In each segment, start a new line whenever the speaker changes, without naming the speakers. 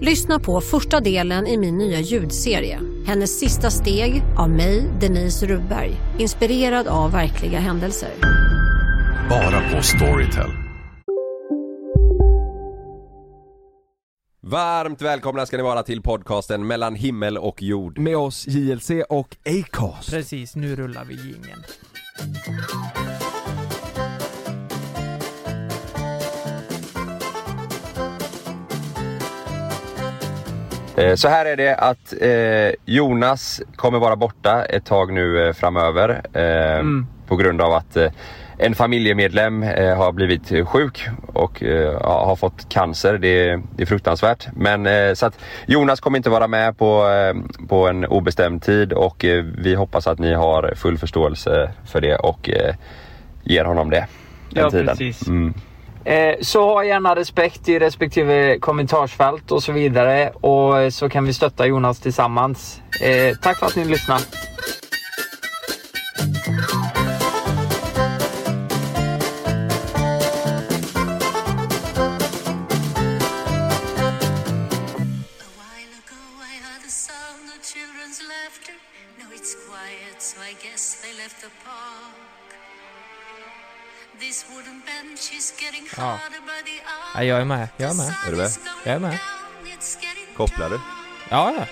Lyssna på första delen i min nya ljudserie. Hennes sista steg av mig, Denise Rubberg. Inspirerad av verkliga händelser.
Bara på Storytel.
Varmt välkomna ska ni vara till podcasten mellan himmel och jord.
med oss JLC och Acast.
Precis, nu rullar vi jingeln.
Eh, Så här är det att eh, Jonas kommer vara borta ett tag nu eh, framöver eh,
Mm.
på grund av att eh, en familjemedlem eh, har blivit eh, sjuk och eh, ha- har fått cancer. Det, är- det är fruktansvärt. Men eh, så att Jonas kommer inte vara med på, eh, på en obestämd tid och eh, vi hoppas att ni har full förståelse för det och eh, ger honom det. den
Ja,
tiden.
precis.
Mm.
Eh, Så ha gärna respekt i respektive kommentarsfält och så vidare och eh, så kan vi stötta Jonas tillsammans. Eh, Tack för att ni lyssnar.
Ja. ja, jag är med. Jag är med.
Är du med?
Jag är med.
Kopplar du?
Ja, ja.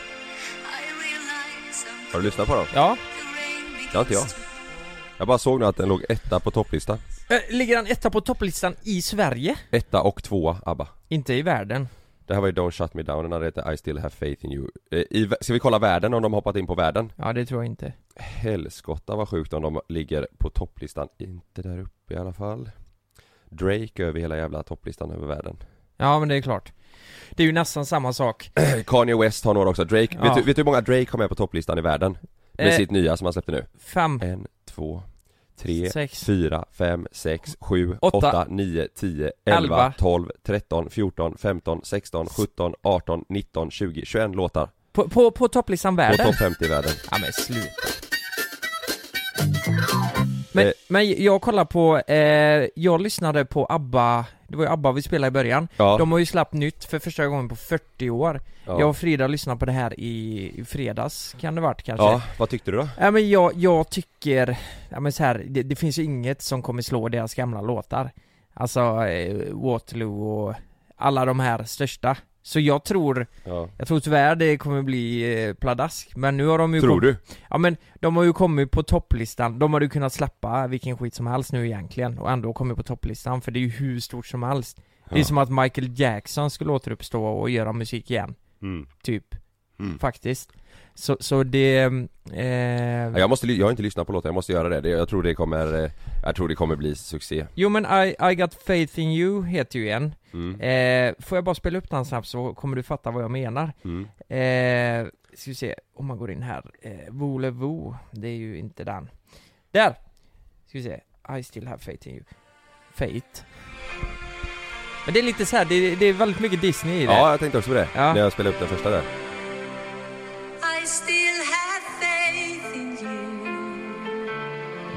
Har du lyssnat på dem?
ja.
Det har inte jag. Jag bara såg nu att den låg etta på topplistan.
Eh, Ligger han etta på topplistan i Sverige?
Etta och tvåa, ABBA.
Inte i världen.
Det här var ju Don't Shut Me Down, den andra heter I Still Have Faith In You Eh, i, vä- Ska vi kolla världen om de hoppat in på världen?
Ja, det tror jag inte.
Helskotta vad sjukt om de ligger på topplistan, inte där uppe i alla fall Drake över hela jävla topplistan över världen
Ja, men det är klart. Det är ju nästan samma sak.
Kanye West har några också, Drake,
Ja.
vet, du, vet du hur många Drake har med på topplistan i världen? Med
Eh.
sitt nya som han släppte nu?
Fem,
En, två, tre,
Sex.
fyra, fem, sex, sju,
Åtta.
åtta, nio, tio, elva,
Elva.
tolv, tretton, fjorton, femton, sexton, sjutton, arton, nitton, tjugo, tjugoen låtar
på, på, på topplistan
på
världen.
topp 50 i världen
Ja men sluta. Men,
Eh.
men jag kollar på, eh, jag lyssnade på ABBA, det var ju ABBA vi spelade i början.
Ja.
De har ju släppt nytt för första gången på 40 år.
Ja.
Jag och Frida lyssnade på det här i, i fredags, kan det varit kanske?
Ja, vad tyckte du då?
Ja, men jag, jag tycker, ja, men så här, det, det finns ju inget som kommer slå deras gamla låtar. Alltså eh, Waterloo och alla de här största. Så jag tror,
Ja.
jag tror tyvärr det kommer bli eh, pladask, men nu har de ju
Tror du?
Ja men de har ju kommit på topplistan, de hade ju kunnat släppa vilken skit som helst nu egentligen och ändå kommit på topplistan för det är ju hur stort som helst Det är
Ja.
som att Michael Jackson skulle återuppstå och göra musik igen,
Mm.
typ,
Mm.
faktiskt Så, så det, eh,
Ja, Jag, måste, ly- jag har inte lyssnat på låten, jag måste göra det. det. Jag tror det kommer, eh, jag tror det kommer bli succé.
Jo men I, I got faith in you heter ju en
Mm.
eh, Får jag bara spela upp den snabbt så kommer du fatta vad jag menar
Mm.
eh, Ska vi se, om man går in här, eh, Volevo, det är ju inte den Där! Ska vi se, I still have faith in you Fate Men det är lite så här, det, det är väldigt mycket Disney i det
Ja, jag tänkte också på det.
Ja.
När jag spelade upp den första där.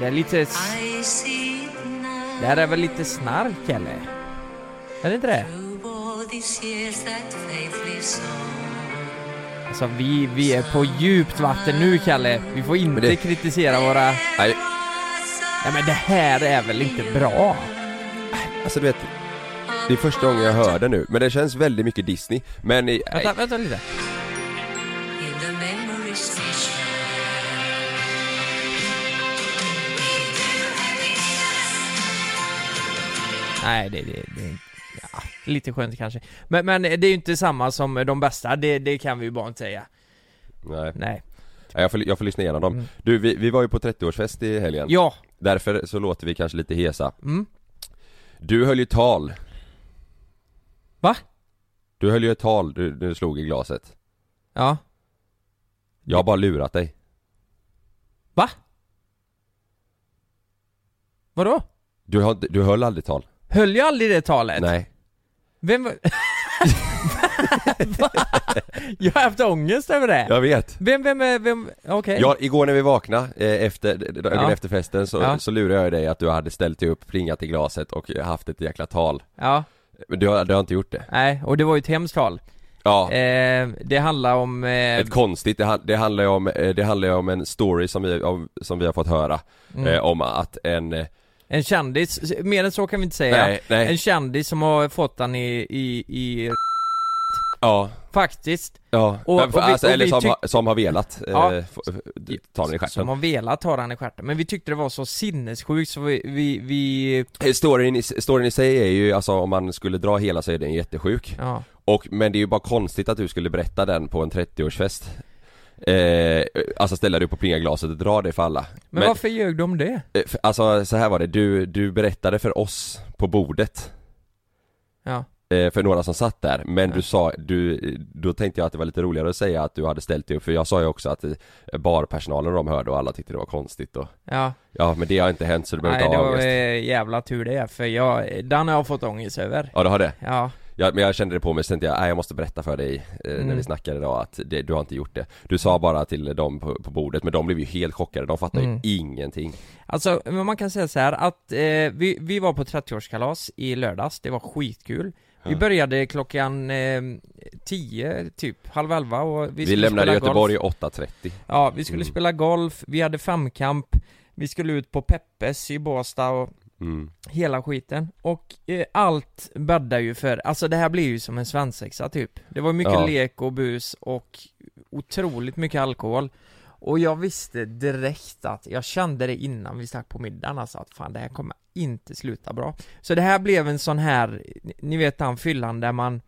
Det är lite... s- Det här är väl lite snark eller? Är det inte det? Alltså vi, vi är på djupt vatten nu Kalle, vi får inte
det-
kritisera våra...
Nej,
Nej men det här är väl inte bra?
alltså du vet. Det är första gången jag hör det nu, men det känns väldigt mycket Disney. Men i, nej,
Vänta, vänta lite Nej, det, det, det ja, lite skönt kanske. Men, men det är ju inte samma som de bästa, det, det kan vi ju bara inte säga.
Nej.
Nej.
Ja, Jag får, jag får lyssna igenom dem.
Mm.
Du, vi, vi var ju på 30-årsfest i helgen.
Ja.
Därför så låter vi kanske lite hesa.
Mm.
Du höll ju tal.
Va?
Du höll ju ett tal du, du slog i glaset.
Ja.
Jag har bara lurat dig.
Va? Vadå?
Du, har inte- du höll aldrig tal.
Höll jag aldrig det talet?
Nej.
Vem var... Va? jag har haft ångest över det.
Jag vet.
Vem, vem, är- vem, okej.
Jag, igår när vi vaknade eh, efter, d- d- dagen
Ja.
efter festen så,
Ja.
så lurade jag dig att du hade ställt dig upp, plingat i glaset och haft ett jäkla tal.
Ja.
Men du, har- du har inte gjort det.
Nej, och det var ju ett hemskt tal.
Ja.
Eh, det handlar om... Eh,
Ett konstigt, det, han- det handlar ju om, eh, det handlar ju om en story som vi, om, som vi har fått höra
Mm.
eh, Om att en, eh,
En kändis, mer än så kan vi inte säga.
Nej, nej.
En kändis som har fått han i, i, i
ja,
faktiskt.
ja,
Och-
Men,
och vi-
alltså,
och
eller
vi
som,
tyck-
har- som har velat eh,
Ja.
få- eh, ta den i
Som
stjärten
har velat ta han i stjärten. Men vi tyckte det var så sinnessjukt så vi, vi, vi
Eh, storyn, i- storyn i sig är ju, alltså om man skulle dra hela så är den jättesjuk
ja.
och, Men det är ju bara konstigt att du skulle berätta den på en 30-årsfest eh, Alltså ställa dig upp och plinga glaset och dra det för alla
Men, varför ljög de om det?
eh, f- Alltså så här var det, du, du berättade för oss på bordet
Ja.
eh, för några som satt där, men du sa, du, då tänkte jag att det var lite roligare att säga att du hade ställt dig upp, för jag sa ju också att eh, barpersonalen de hörde och alla tyckte det var konstigt och
Ja.
Ja men det har inte hänt så du behöver
Nej
inte
det
ha
var
ångest
eh, jävla tur det för jag, den har jag fått ångest över.
Ja du har det?
Ja.
Ja, men jag kände det på mig, så tänkte jag, nej jag måste berätta för dig eh, när
Mm.
vi snackade idag att det, du har inte gjort det Du sa bara till dem på, på bordet, men de blev ju helt chockade, de fattade
Mm.
ju ingenting
Alltså, men man kan säga så här att eh, vi, vi var på 30-årskalas i lördags, det var skitkul. Vi
Ja.
började klockan eh, 10, typ halv elva och vi,
Vi,
skulle
lämnade
spela
Göteborg
golf.
8.30
Ja, vi skulle
Mm.
spela golf, vi hade famkamp, vi skulle ut på Peppes i Båstad och
mm.
hela skiten. Och eh, allt bäddar ju för, alltså det här blir ju som en svensexa typ. Det var mycket
Ja.
lek och bus och otroligt mycket alkohol. Och jag visste direkt att, jag kände det innan vi snackade på middagen alltså att fan det här kommer inte sluta bra. Så det här blev en sån här, ni vet den fyllan där man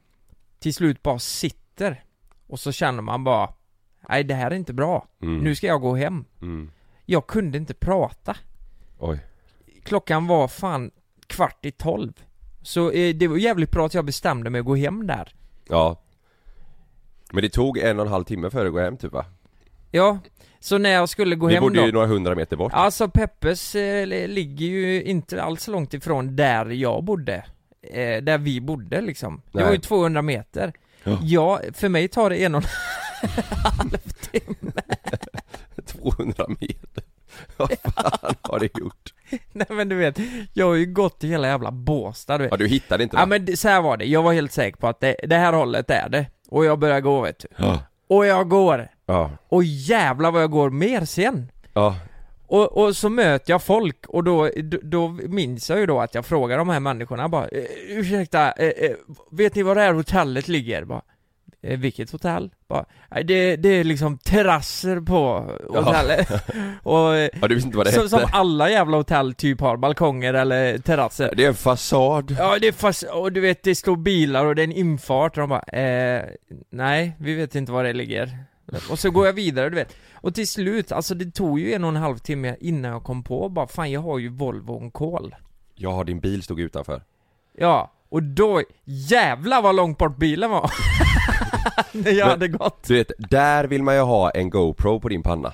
till slut bara sitter och så känner man bara Nej det här är inte bra,
Mm.
nu ska jag gå hem.
Mm.
Jag kunde inte prata
Oj,
klockan var fan kvart i tolv. Så eh, det var jävligt bra att jag bestämde mig att gå hem där.
ja Men det tog en och en halv timme för att gå hem typ va?
Ja, så när jag skulle gå
Ni
hem
bodde ju
då.
några hundra meter bort
Alltså Peppes eh, li- ligger ju inte alls långt ifrån där jag bodde. Eh, där vi bodde liksom. Det var
Nej.
ju 200 meter.
Ja.
Ja, för mig tar det en och en
200 meter Vad fan har du gjort?
Nej men du vet, jag har ju gått i hela jävla Båstad du vet.
Ja du hittade inte
Ja
den?
men det- så här var det, jag var helt säker på att det, det här hållet är det. Och jag börjar gå vet du.
Ja.
Och jag går.
Ja,
Och jävla vad jag går mer sen!
ja,
Och, och så möter jag folk och då, då, då minns jag ju då att jag frågar de här människorna bara "Eh, Ursäkta, eh, eh, vet ni var det här hotellet ligger? Bara, "Eh, vilket hotell? Bara, "Nej, det, det är liksom terrasser på hotellet och, eh,
ja du visste inte vad det
som,
hette?
som alla jävla hotell typ har, balkonger eller terrasser
Det är en fasad
Ja det är fast, och du vet det står bilar och det är en infart och de bara eh, nej vi vet inte var det ligger Och så går jag vidare du vet Och till slut, alltså det tog ju en och en halv timme innan jag kom på bara fan jag har ju Volvo on call
Ja, din bil stod utanför
Ja, och då, jävla vad långt bort bilen var! När jag
Men-
hade gått,
Du vet, där vill man ju ha en GoPro på din panna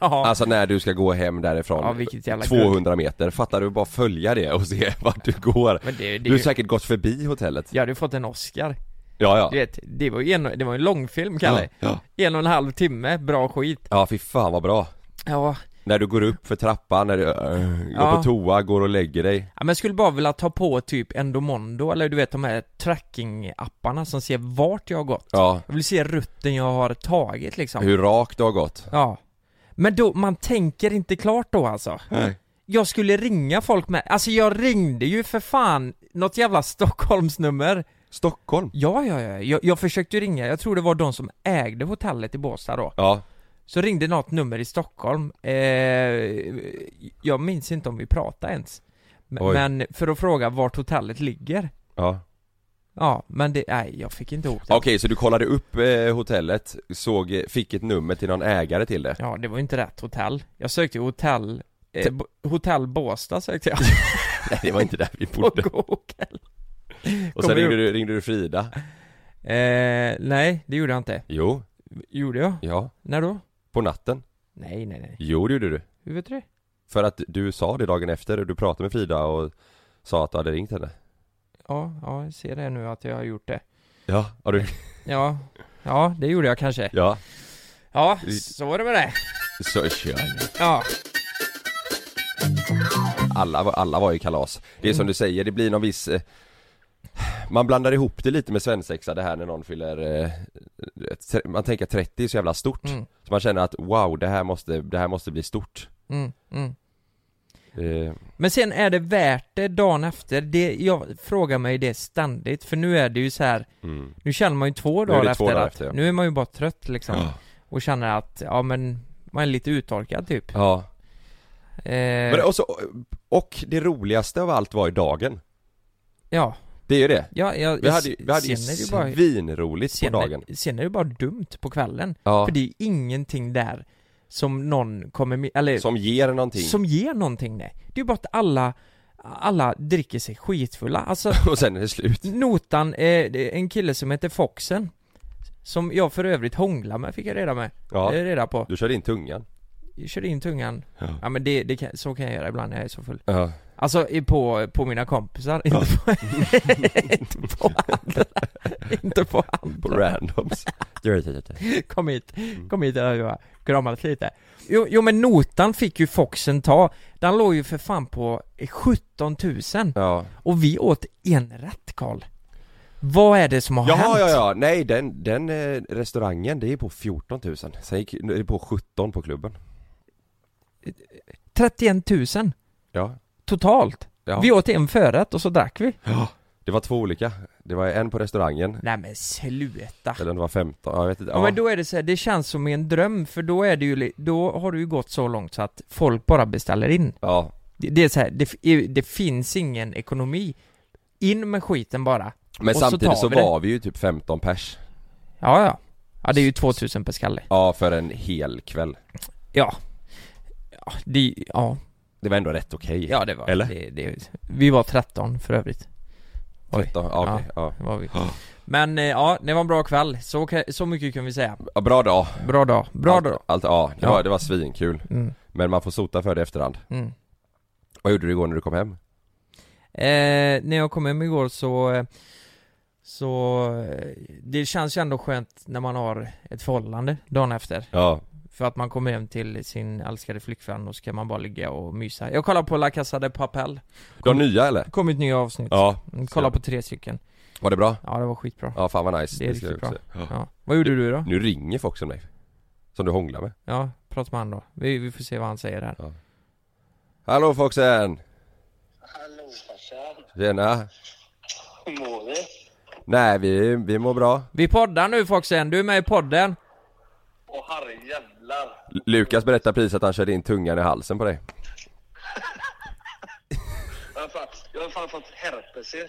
ja
Alltså när du ska gå hem därifrån
Ja, vilket jävla
200 meter, fattar du? Bara följa det och se vart du går
Men det,
Du har
det,
säkert gått förbi hotellet
jag hade ju fått en Oscar,
Ja, ja
du vet, det var ju en, det var en långfilm
Ja,
Kalle
ja.
En och en halv timme, bra skit
ja fy fan vad bra
Ja,
När du går upp för trappan, när du äh, går
Ja.
på toa, går och lägger dig
Ja, men jag skulle bara vilja ta på typ Endomondo eller du vet de här tracking-apparna som ser vart jag har gått.
Ja,
Jag vill se rutten jag har tagit liksom.
hur rakt du har gått
Ja. Men då, man tänker inte klart då alltså.
Nej.
Jag skulle ringa folk med, alltså jag ringde ju för fan något jävla Stockholmsnummer.
Stockholm
Ja, ja, ja, jag, jag försökte ju ringa, jag tror det var de som ägde hotellet i Båstad då.
Ja,
Så ringde något nummer i Stockholm, eh, jag minns inte om vi pratade ens Men-
Oj.
Men för att fråga vart hotellet ligger
Ja.
Ja, men det, nej jag fick inte ihop det
Okej, så du kollade upp eh, hotellet, såg, eh, fick ett nummer till någon ägare till det?
Ja, det var ju inte rätt hotell Jag sökte ju hotell eh, bo- Hotell Båstad sökte jag
Nej, det var inte där vi bodde.
På Google
Och sen
Kommer
ringde
upp.
du, ringde du Frida?
eh, Nej, det gjorde jag inte
Jo,
Gjorde jag?
ja,
När då?
på natten.
Nej, nej, nej
Jo, det gjorde du.
Hur vet du det?
För att du sa det dagen efter, och du pratade med Frida och sa att du hade ringt henne.
Ja, ja, jag ser det nu att jag har gjort det
Ja, har du?
Ja, ja det gjorde jag kanske
Ja.
Ja, så var det med det
Så kör ni.
Ja
Alla, var- alla var ju kalas. Det
Mm.
är som du säger, det blir någon viss eh, man blandar ihop det lite med svensexa det här när någon fyller, eh, tre- man tänker att 30 är så jävla stort.
Mm.
Så man känner att wow, det här måste, det här måste bli stort.
mm, mm.
Eh,
Men sen är det värt det dagen efter, det, jag frågar mig det ständigt för nu är det ju så här
Mm.
Nu känner man ju två
Nu är det
dagar
två
efter,
dagar
att,
efter, ja.
nu är man ju bara trött liksom
Ja.
Och känner att, ja men, man är lite uttorkad typ
Ja.
eh,
Men och, så, och det roligaste av allt var ju dagen.
Ja,
Det är ju det.
ja jag,
vi hade, ju- vi hade ju
sen är det ju bara-
svinroligt på
sen är-
dagen.
Sen är det ju bara dumt på kvällen
Ja.
För det är ju ingenting där som någon kommer, med- eller
Som ger någonting.
som ger någonting nej Det är ju bara att alla, alla dricker sig skitfulla, alltså
Och sen är det slut.
Notan, eh, det är en kille som heter Foxen Som jag för övrigt hånglar med fick jag reda med
Ja.
Det är reda på
Du körde in tungan.
Jag körde in tungan Ja, men det, det kan, så kan jag göra ibland när jag är så full
Ja.
Alltså i- på, på mina kompisar, inte, på, inte på andra Inte på
På
andra
randoms.
Kom hit,
Mm.
kom hit och jag kramades lite jo, jo men notan fick ju Foxen ta Den låg ju för fan på 17 000
Ja.
Och vi åt en rätt Karl Vad är det som har hänt?
Jaha, ja, ja, nej den, den eh, restaurangen det är på 14 000 Sen gick det är på 17 på klubben
31 000
Ja,
totalt.
Ja.
Vi åt en förrätt och så drack vi.
det var två olika Det var en på restaurangen
Nej men sluta.
Eller det var 15, ja, jag vet inte
Ja.
ja.
men då är det så här, det känns som i en dröm för då är det ju, li- då har det ju gått så långt så att folk bara beställer in.
Ja.
Det, det är så här, det, f- i- det finns ingen ekonomi. In med skiten bara.
Men
Och
samtidigt
tar
så,
vi det.
var vi ju typ 15 pers
Ja ja. Ja det är ju 2000 per skalle.
Ja, för en hel kväll
Ja. Ja, det, ja.
Det var ändå rätt okej
Ja, det var-
Eller?
Det, Vi var 13 för övrigt. Oj.
13, ja, okej, ja.
det var vi. Men eh, ja, det var en bra kväll. Så, ka- så mycket kan vi säga.
Ja, bra dag
Bra dag, bra
allt,
dag.
Allt, ja, det,
Ja.
Var, det var svinkul
Mm.
Men man får sota för det i efterhand
Mm.
Vad gjorde du igår när du kom hem?
Eh, när jag kom hem igår så, eh, så, eh, det känns ju ändå skönt när man har ett förhållande dagen efter.
Ja,
För att man kommer hem till sin älskade flickvän och så kan man bara ligga och mysa. Jag kollar på La Casa de Papel.
de nya eller?
kommit nya avsnitt.
Ja,
Mm, Kollar på tre stycken.
var det bra?
Ja, det var skitbra.
Ja, fan vad nice
Det är
ska
riktigt
jag
bra.
också säga.
Ja. Vad gjorde du då?
Nu ringer Foxen dig Som du hånglar med
Ja, prata med han då. Vi, vi får se vad han säger här.
Hallå Foxen!
Hallå farsan,
Tjena!
hur mår du?
Nej vi, vi mår bra
Vi poddar nu Foxen, du är med i podden.
Åh herrejävlar!
L- Lukas berättar precis att han körde in tungan i halsen på dig
Jag har fan, jag har fan fått herpes ju.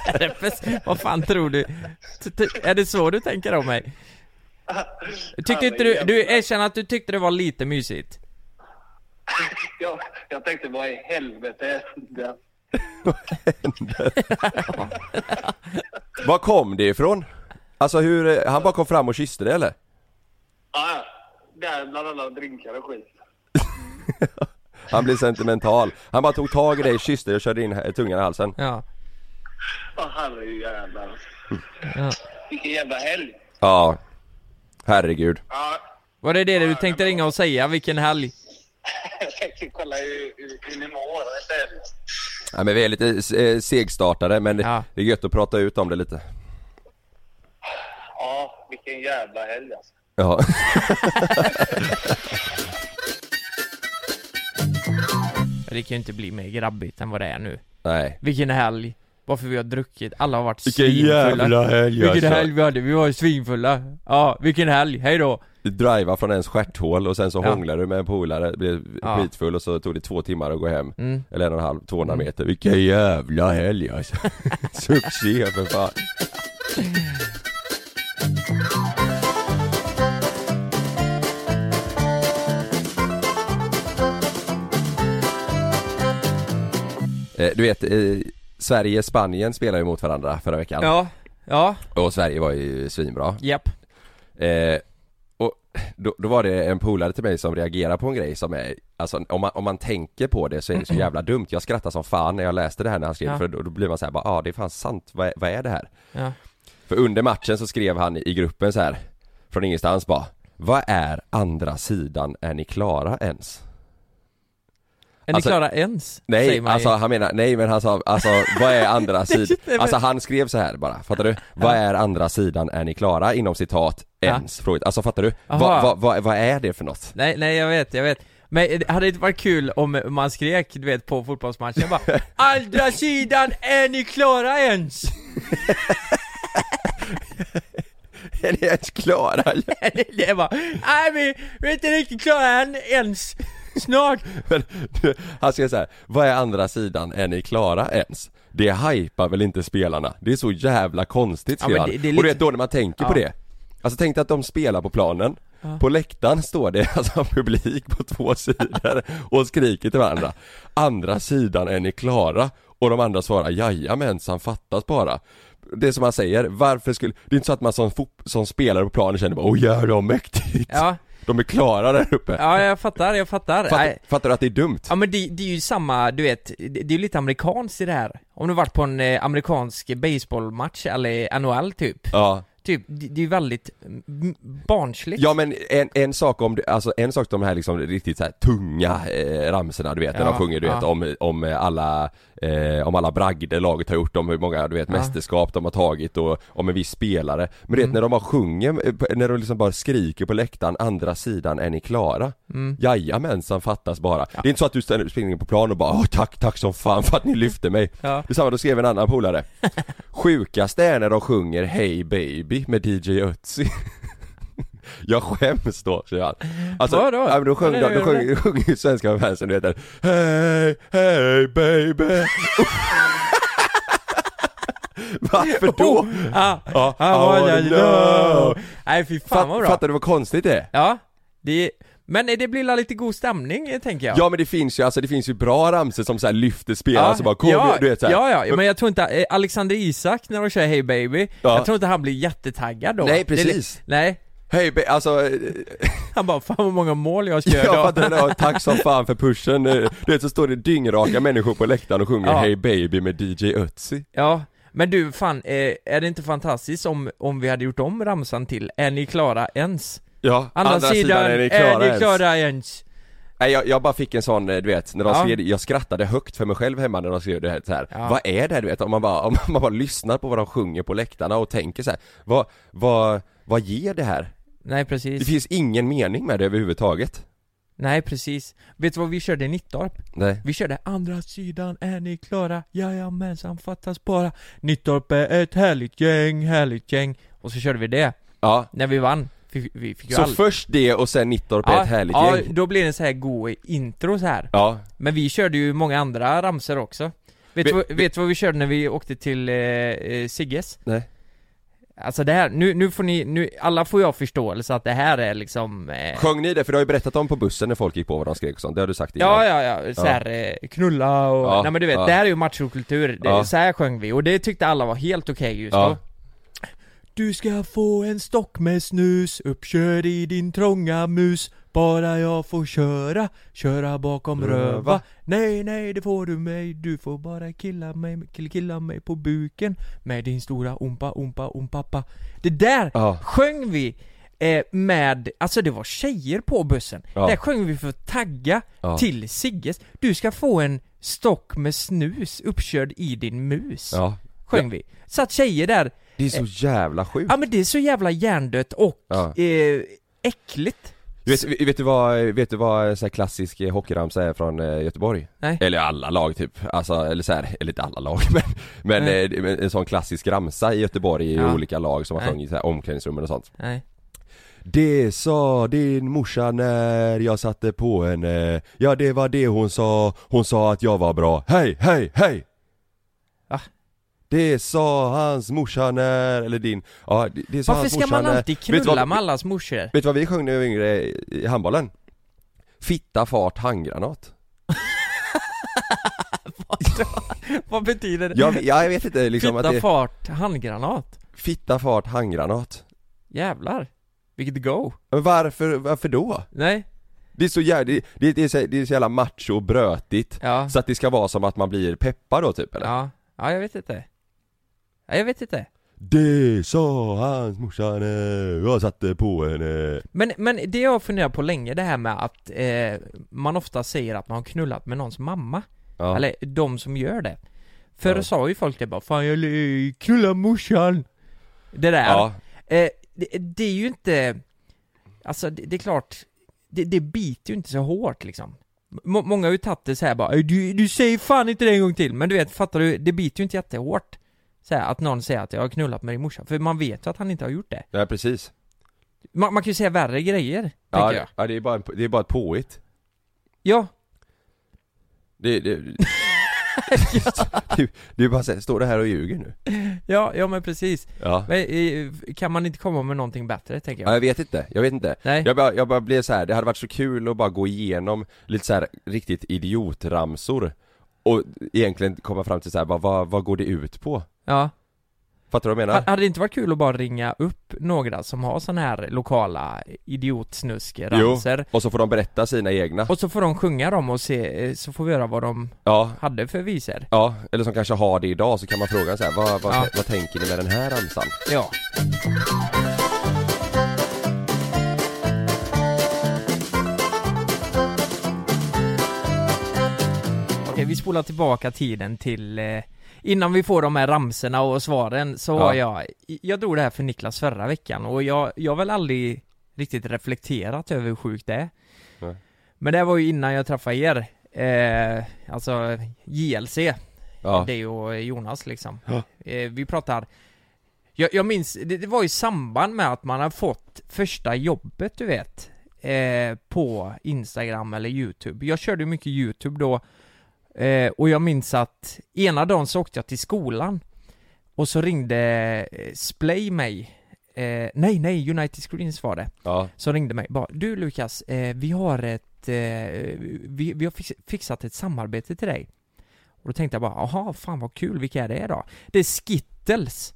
Herpes, vad fan tror du? T- t- Är det så du tänker om mig? Tyckte inte du, du erkänner att du tyckte det var lite mysigt?
Jag, jag tänkte vad i helvete hände?
Var kom det ifrån? Alltså hur, eh, han bara kom fram och kysste dig eller?
Ja, ja. där bland annat drinkar och skit.
Han blev sentimental Han bara tog tag i dig, kysste dig och körde in eh, tungan i halsen
Ja
Åh herrejävlar!
Ja.
Vilken jävla helg!
Ja Herregud
Ja,
Var det det du tänkte ringa och säga? Vilken helg?
jag tänkte kolla hur, hur, hur ni mår istället.
ja, men vi är lite eh, segstartade men det- det är gött att prata ut om det lite
Ja, vilken jävla helg alltså.
Ja
Det kan ju inte bli mer grabbigt än vad det är nu.
Nej
Vilken helg. Varför vi har druckit. Alla har varit
Vilken
svinfulla.
jävla helg,
Vilken
alltså.
helg vi hade. Vi var ju svinfulla. Ja, vilken helg. Hej då.
driva från ens stjärthål och sen så
Ja.
hånglade du med en polare, blev
Ja.
skitfull och så tog det två timmar att gå hem
Mm.
Eller en och en halv, 200
Mm.
meter, vilken jävla helg alltså Succé för fan Eh, Du vet, eh, Sverige och Spanien spelade ju mot varandra förra veckan
Ja, ja,
Och Sverige var ju svinbra
japp.
Eh, och då, då var det en polare till mig som reagerade på en grej som är, alltså om man, om man tänker på det så är det så jävla dumt. Jag skrattade som fan när jag läste det här när han skrev
Ja.
för då, då blir man så här, bara, ja ah, det är fan sant, vad är, vad är det här?
Ja.
För under matchen så skrev han i gruppen så här från ingenstans bara, vad är andra sidan, är ni klara ens?
Är
Alltså-
ni klara ens?
Nej,
säger man ju.
alltså han menar, nej men han sa, alltså vad är andra sidan?
Nej, men-
Alltså han skrev så här bara, fattar du? Vad är andra sidan, är ni klara? Inom citat,
Ja.
ens? Fråget. Alltså fattar du? Vad
Aha.
vad- vad- vad är det för något?
Nej, nej jag vet, jag vet. Men det hade inte varit kul om man skrek, du vet, på fotbollsmatchen bara Andra sidan, är ni klara ens?
Är ni ens klara?
det var, nej vi, vi är inte riktigt klara än, ens. Snart.
Men, du, han säger så här, vad är andra sidan, är ni klara ens? Det hypar väl inte spelarna? Det är så jävla konstigt
Ja,
skrev
men
han.
det- det är
Och du
lite-
vet då när man tänker på
Ja.
det Alltså tänk dig att de spelar på planen
Ja.
På läktaren står det alltså publik på två sidor och skriker till varandra Andra sidan, är ni klara? Och de andra svarar jajamensan, fattas bara Det är som man säger, varför skulle, det är inte så att man som, fot- som spelare på planen känner bara åh jävlar vad mäktigt
Ja.
De är klara där uppe
Ja, jag fattar, jag fattar.
fattar,
Nej.
fattar du att det är dumt?
Ja men det, det är ju samma, du vet, det, det är ju lite amerikanskt i det här. Om du varit på en eh, amerikansk baseballmatch eller NHL typ.
Ja
Typ, det, det är ju väldigt mm, barnsligt.
Ja men en, en sak om, alltså en sak de här liksom riktigt så här tunga eh, ramsorna du vet när
Ja,
de sjunger du vet
ja.
om, om alla, eh, om alla bragder laget har gjort, om hur många du vet
Ja.
mästerskap de har tagit och om en viss spelare Men du vet
Mm.
när de bara sjunger, eh, på- när de liksom bara skriker på läktaren, andra sidan är ni klara?
Mm.
Jajamensan fattas bara. Det är inte så att du ställer- springer in på plan och bara Åh, tack, tack som fan för att ni lyfte mig.
Ja.
Det är samma, då skrev en annan polare. Sjukast är när de sjunger Hey baby med DJ Ötzi. Jag skäms då, säger han. Alltså,
Vadå?
ja, men då sjöng,
Ja,
de,
det är
då
det.
sjöng, då sjöng ju svenska fansen, du vet den, Hey, hey baby. Varför då?
Ah,
Ja,
ah,
I
what
wanna
I
know.
know. Nej fy fan vad
Fatt,
bra.
fattar du vad konstigt det är?
Ja, det, men det blir lite god stämning eh, tänker jag.
Ja men det finns ju, alltså det finns ju bra ramsor som så här lyfter spelare som bara kom,
ja,
du vet så här.
ja, ja, men jag tror inte, eh, Alexander Isak när de kör Hey Baby,
Ja.
jag tror inte han blir jättetaggad då
Nej,
Det är li-
precis.
Nej,
Hej, be- alltså, eh,
han bara 'Fan vad många mål jag ska göra
jag
idag."
fattar det, ja, tack som fan för pushen eh. Du vet så står det dyngraka människor på läktaren och sjunger
Ja.
Hey baby med DJ Ötzi
Ja, men du fan, eh, är det inte fantastiskt om, om vi hade gjort om ramsan till 'Är ni klara ens?'
Ja, andra, sidan, är ni klara, ens?
ens?
Nej jag, jag bara fick en sån, eh, du vet, när de
Ja.
skrev det, jag skrattade högt för mig själv hemma när de skrev det här, så här.
Ja.
Vad är det här, du vet? Om man bara, om man bara lyssnar på vad de sjunger på läktarna och tänker så här, vad, vad, vad ger det här?
Nej
Det
precis,
finns ingen mening med det överhuvudtaget
nej precis Vet du vad vi körde i Nittorp?
Nej
Vi körde 'Andra sidan är ni klara? Jajamensan fattas bara Nittorp är ett härligt gäng, härligt gäng' Och så körde vi det,
Ja,
när vi vann Fick- Vi fick ju
Så
all-
först det och sen Nittorp är ett härligt
ja,
gäng?
då blir det så här god intro så här.
Ja,
Men vi körde ju många andra ramsor också Vet
Vi-
du vad- vet du vad vi körde när vi åkte till eh, eh, Sigges?
nej
Alltså det här, nu, nu får ni, nu, alla får ju ha förståelse att det här är liksom eh,
Sjöng ni det? För du har ju berättat om på bussen när folk gick på vad de skrek och sånt, det har du sagt innan
Ja, ja, ja, så här, eh, knulla och,
Ja,
nej men du vet,
ja.
det här är ju machokultur, det,
Ja.
så här sjöng vi och det tyckte alla var helt okej just
Ja.
då Du ska få en stock med snus, uppkörd i din trånga mus Bara jag får köra, köra bakom
Röva.
röva, Nej, nej det får du mig, du får bara killa mig, kill, killa mig på buken Med din stora ompa, ompa, ompappa Det där
Ja.
sjöng vi eh, med, alltså det var tjejer på bussen
Ja.
Där sjöng vi för att tagga
Ja.
till Sigges Du ska få en stock med snus uppkörd i din mus
ja.
Sjöng vi Satt tjejer där
Det är så jävla sjukt
Ja men det är så jävla hjärndött och
Ja.
eh, äckligt
Du vet, vet du vad, vet du vad en sån här klassisk eh, hockeyramsa är från eh, Göteborg?
Nej.
Eller alla lag typ, alltså, eller så här, eller inte alla lag men, men
Nej.
eh, det- men en sån klassisk ramsa i Göteborg i
Ja.
olika lag som har
Nej.
sjungit i så här omklädningsrummen och sånt
Nej
Det sa din morsa när jag satte på henne Ja det var det hon sa, hon sa att jag var bra Hej, hej, hej!
Va?
Det sa hans morsa när, eller din, ja det, det sa
Varför
hans
ska
morsa
man
när-
alltid
Vet du vad-
knulla med allas morsor?
Vet du vad vi sjöng när vi var yngre i handbollen? Fitta, fart, handgranat
Vad betyder det?
Jag, jag vet inte liksom
Fitta
att det...
fart, handgranat.
Fitta, fart, handgranat
Jävlar. Vilket go.
Men varför, varför då?
Nej.
Det är så jävla, det, det, det, är så, det är så jävla macho och brötigt
Ja.
Så att det ska vara som att man blir peppad då typ eller?
Ja, ja jag vet inte. Ja, jag vet inte.
Det sa hans morsa när jag satte på henne
Men, men det jag funderar på länge, det här med att eh, man ofta säger att man har knullat med någons mamma.
Ja.
Eller de som gör det. Förr sa ju folk det bara 'Fan jag l- knullar morsan' Det där.
Ja.
Eh, det, det är ju inte... Alltså det, det är klart, det, det biter ju inte så hårt liksom. Må- många har ju tagit det så här bara 'Du, du säger fan inte det en gång till' Men du vet, fattar du? Det biter ju inte jättehårt. Så här, att någon säger att jag har knullat med din morsa. För man vet ju att han inte har gjort det.
Nej precis
Man, man kan ju säga värre grejer,
Ja,
tänker jag.
ja det, är bara, en- det är bara ett påhitt
Ja.
Det, det, det, det är bara så här, står det här och ljuger nu?
Ja, ja men precis.
Ja.
Men, eh, kan man inte komma med någonting bättre, tänker jag?
Ja, jag vet inte, jag vet inte.
Nej.
Jag bara, jag bara blev så här. det hade varit så kul att bara gå igenom lite så här riktigt idiotramsor och egentligen komma fram till så här, bara, vad, vad går det ut på?
Ja.
Fattar du vad jag menar?
Ha- Hade det inte varit kul att bara ringa upp några som har såna här lokala
jo,
idiotsnuskramsor?
och så får de berätta sina egna.
Och så får de sjunga dem och se, eh, så får vi höra vad de
Ja,
hade för visor.
ja, eller som kanske har det idag så kan man fråga så här, vad, vad,
Ja.
vad tänker ni med den här ramsan?
Ja. Okej, vi spolar tillbaka tiden till eh, Innan vi får de här ramserna och svaren så har jag Jag drog det här för Niklas förra veckan och jag, jag har väl aldrig Riktigt reflekterat över hur sjukt det är
Nej.
Men det var ju innan jag träffade er eh, Alltså JLC
Ja.
Det och Jonas liksom
Ja.
eh, Vi pratar jag, jag minns, det, det var i samband med att man har fått första jobbet du vet eh, På Instagram eller Youtube Jag körde ju mycket Youtube då eh, Och jag minns att ena dagen så åkte jag till skolan Och så ringde eh, Splay mig eh, Nej nej, United Screens var det
Ja,
Som ringde mig bara Du Lukas, eh, vi har ett eh, vi, vi har fix, fixat ett samarbete till dig Och då tänkte jag bara, aha fan vad kul, vilka är det då? Det är Skittles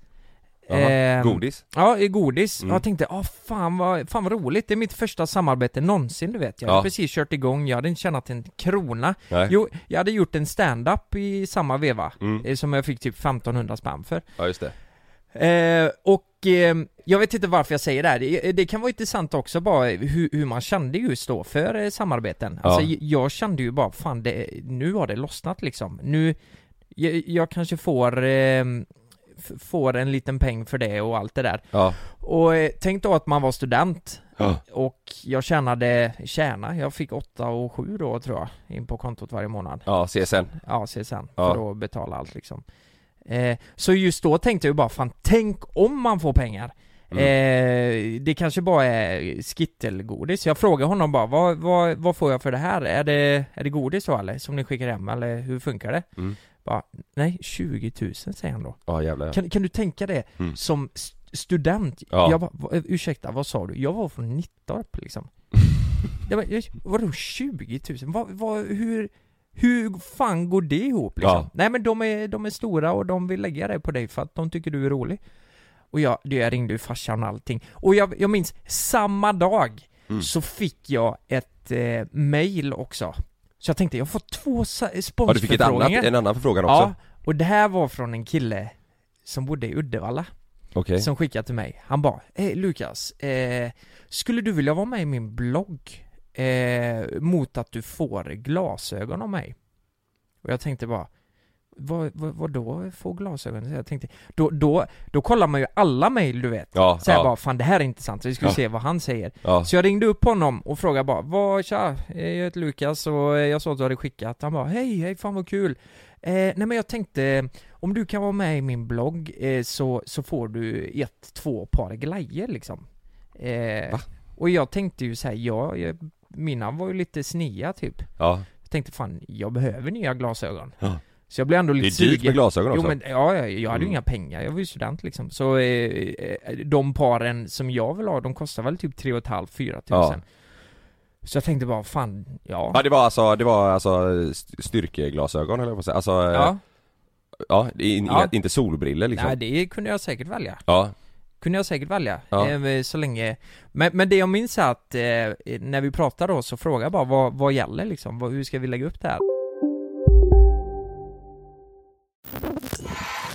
Jaha,
Ehm,
godis?
Ja, i godis.
Mm.
Jag tänkte, ah fan, vad, fan vad roligt, det är mitt första samarbete någonsin du vet. Jag hade
Ja.
precis kört igång, jag hade inte tjänat en krona.
Nej.
Jo, jag hade gjort en stand-up i samma veva,
Mm.
eh, som jag fick typ 1500 spänn för.
Ja just det.
Eh, och eh, jag vet inte varför jag säger det här, det, det kan vara intressant också bara hur, hur man kände just då för eh, samarbeten.
Ja.
Alltså j- jag kände ju bara, fan det, nu har det lossnat liksom. Nu, jag, jag kanske får, eh, f- får en liten peng för det och allt det där.
Ja.
Och eh, tänk då att man var student
Ja.
och jag tjänade, tjäna, jag fick 8 och 7 då tror jag, in på kontot varje månad.
Ja, CSN.
Ja, CSN,
Ja.
för att betala allt liksom. Eh, så just då tänkte jag ju bara, fan tänk om man får pengar.
Mm.
Eh, det kanske bara är skittelgodis. Jag frågade honom bara, vad, vad, vad får jag för det här? Är det, är det godis då eller? Som ni skickar hem eller hur funkar det?
Mm.
Bara, nej 20 000 säger han då.
Ja jävlar ja.
Kan, kan du tänka det?
Mm.
Som st- student,
Ja.
jag bara, "Va- eh, ursäkta vad sa du? Jag var från Nittorp liksom jag bara, jag, Vadå 20 000? Vad, vad, hur, hur fan går det ihop liksom?
Ja.
Nej men de är, de är stora och de vill lägga det på dig för att de tycker du är rolig Och jag, det- jag ringde ju farsan och allting Och jag, jag minns, samma dag
Mm.
så fick jag ett eh, mail också Så jag tänkte, jag får två sa-
Ja du fick ett annat,
sponsförfrågningar
en annan förfrågan också?
Ja, och det här var från en kille som bodde i Uddevalla
Okej.
som skickade till mig. Han bara, eh, Lukas, eh, skulle du vilja vara med i min blogg eh, mot att du får glasögon av mig? Och jag tänkte bara, vad, vad, vad då få glasögon? Så jag tänkte, då, då, då kollar man ju alla mejl du vet.
Ja,
så jag
ja.
bara, fan det här är intressant, vi ska
Ja.
se vad han säger.
Ja.
Så jag ringde upp honom och frågade bara, vad, tja, eh, jag heter Lukas och eh, jag såg att du hade skickat. Han bara, hej, hej, fan vad kul. Eh, nej men jag tänkte, om du kan vara med i min blogg eh, så, så får du ett, två par glajjor liksom. Eh,
Va?
Och jag tänkte ju så här, jag, jag, mina var ju lite snea typ.
Ja.
Jag tänkte fan, jag behöver nya glasögon.
Ja.
Så jag blev ändå lite
Det är dyrt med glasögon också.
Jo men, ja, ja, jag hade ju
Mm.
inga pengar, jag var ju student liksom. Så eh, eh, de paren som jag vill ha, de kostar väl typ 3 fyra tusen. Så jag tänkte bara, fan, ja.
Ja det var alltså, det var alltså st- styrkeglasögon höll jag på att säga, alltså eh,
Ja.
Ja, det är inga,
Ja.
inte solbriller liksom
Nej, det kunde jag säkert välja.
Ja,
Kunde jag säkert välja,
Ja.
eh, så länge men, men det jag minns är att eh, när vi pratade då så frågade jag bara vad, vad gäller liksom, vad, hur ska vi lägga upp det här?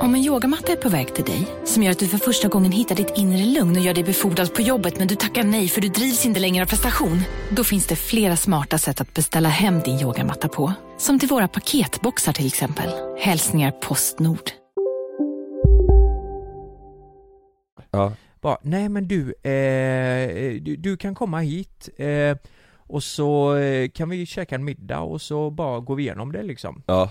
Om en yogamatta är på väg till dig, som gör att du för första gången hittar ditt inre lugn och gör dig befordrad på jobbet men du tackar nej för du drivs inte längre av prestation. Då finns det flera smarta sätt att beställa hem din yogamatta på. Som till våra paketboxar till exempel. Hälsningar Postnord.
ja.
Bara, nej men du, eh, du, du kan komma hit eh, och så eh, kan vi käka en middag och så bara går vi igenom det liksom.
Ja.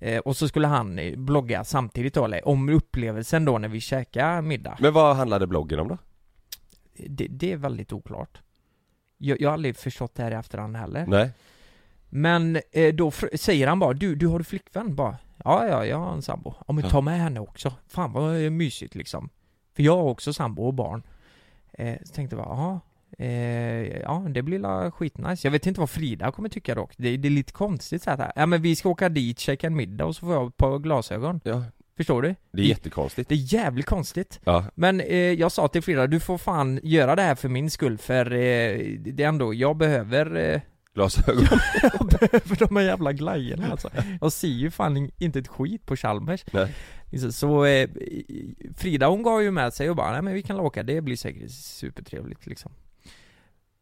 Eh, och så skulle han eh, blogga samtidigt då, eller om upplevelsen då när vi käkar middag.
Men vad handlade bloggen om då?
Det, det är väldigt oklart. Jag, jag har aldrig förstått det här i efterhand heller.
Nej.
Men eh, då fr- säger han bara, du, du har du flickvän? Bara, ja, ja, jag har en sambo. Ja men
Ja.
ta med henne också. Fan vad eh, mysigt liksom. För jag har också sambo och barn. Eh, så tänkte jag bara, jaha. Eh, ja, det blir la skitnice. Jag vet inte vad Frida kommer tycka dock. Det, det är lite konstigt så här. Ja men vi ska åka dit, käka en middag och så får jag ett par glasögon.
Ja.
Förstår du?
Det är jättekonstigt
Det är jävligt konstigt.
Ja,
Men eh, jag sa till Frida, du får fan göra det här för min skull för eh, det är ändå, jag behöver eh,
glasögon
för de här jävla glajjorna alltså. Jag ser ju fan in- inte ett skit på Chalmers.
Nej.
Liksom, Så eh, Frida hon gav ju med sig och bara, nej men vi kan åka, det blir säkert supertrevligt liksom.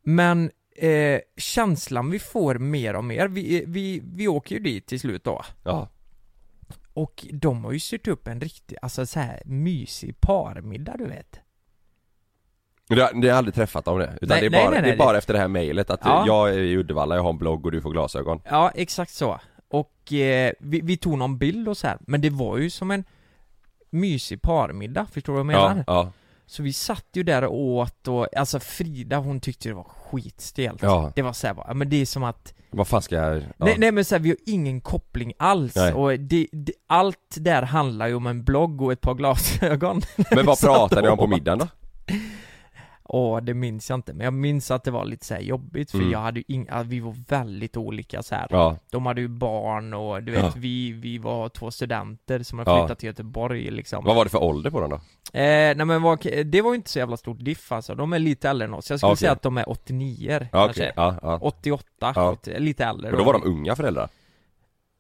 Men eh, känslan vi får mer och mer, vi, eh, vi, vi åker ju dit till slut då.
Ja.
Och de har ju syrt upp en riktig, alltså så här mysig parmiddag du vet.
Men Du har, du har aldrig träffat om det? Utan
Nej,
det är
nej,
bara,
nej, nej,
det är bara
det-
efter det här mejlet att eh,
Ja.
jag är i Uddevalla, jag har en blogg och du får glasögon
Ja, exakt så. Och eh, vi, vi tog någon bild och så här, men det var ju som en mysig parmiddag, förstår du vad jag menar?
Ja, ja.
Så vi satt ju där och åt och, alltså Frida hon tyckte det var skitstelt.
Ja.
Det var så här, bara, ja, men det är som att
Vad fan ska jag... Ja.
Nej, nej men såhär, vi har ingen koppling alls
Nej.
och det, det, allt där handlar ju om en blogg och ett par glasögon
Men vad
Så att
pratade ni om på
då-
middagen då?
Åh, det minns jag inte, men jag minns att det var lite såhär jobbigt för
Mm.
jag hade ju ing- ja, vi var väldigt olika så här.
Ja.
De hade ju barn och du vet,
Ja.
vi, vi var två studenter som hade
Ja.
flyttat till Göteborg liksom
Vad var det för ålder på dem då?
Eh, nej men vad, det var ju inte så jävla stort diff alltså, de är lite äldre än oss. Jag skulle
Okej.
säga att de är 89
Ja,
kanske.
okej. Ja, ja.
88,
Ja.
80, lite äldre Eh,
Och då var de unga föräldrar?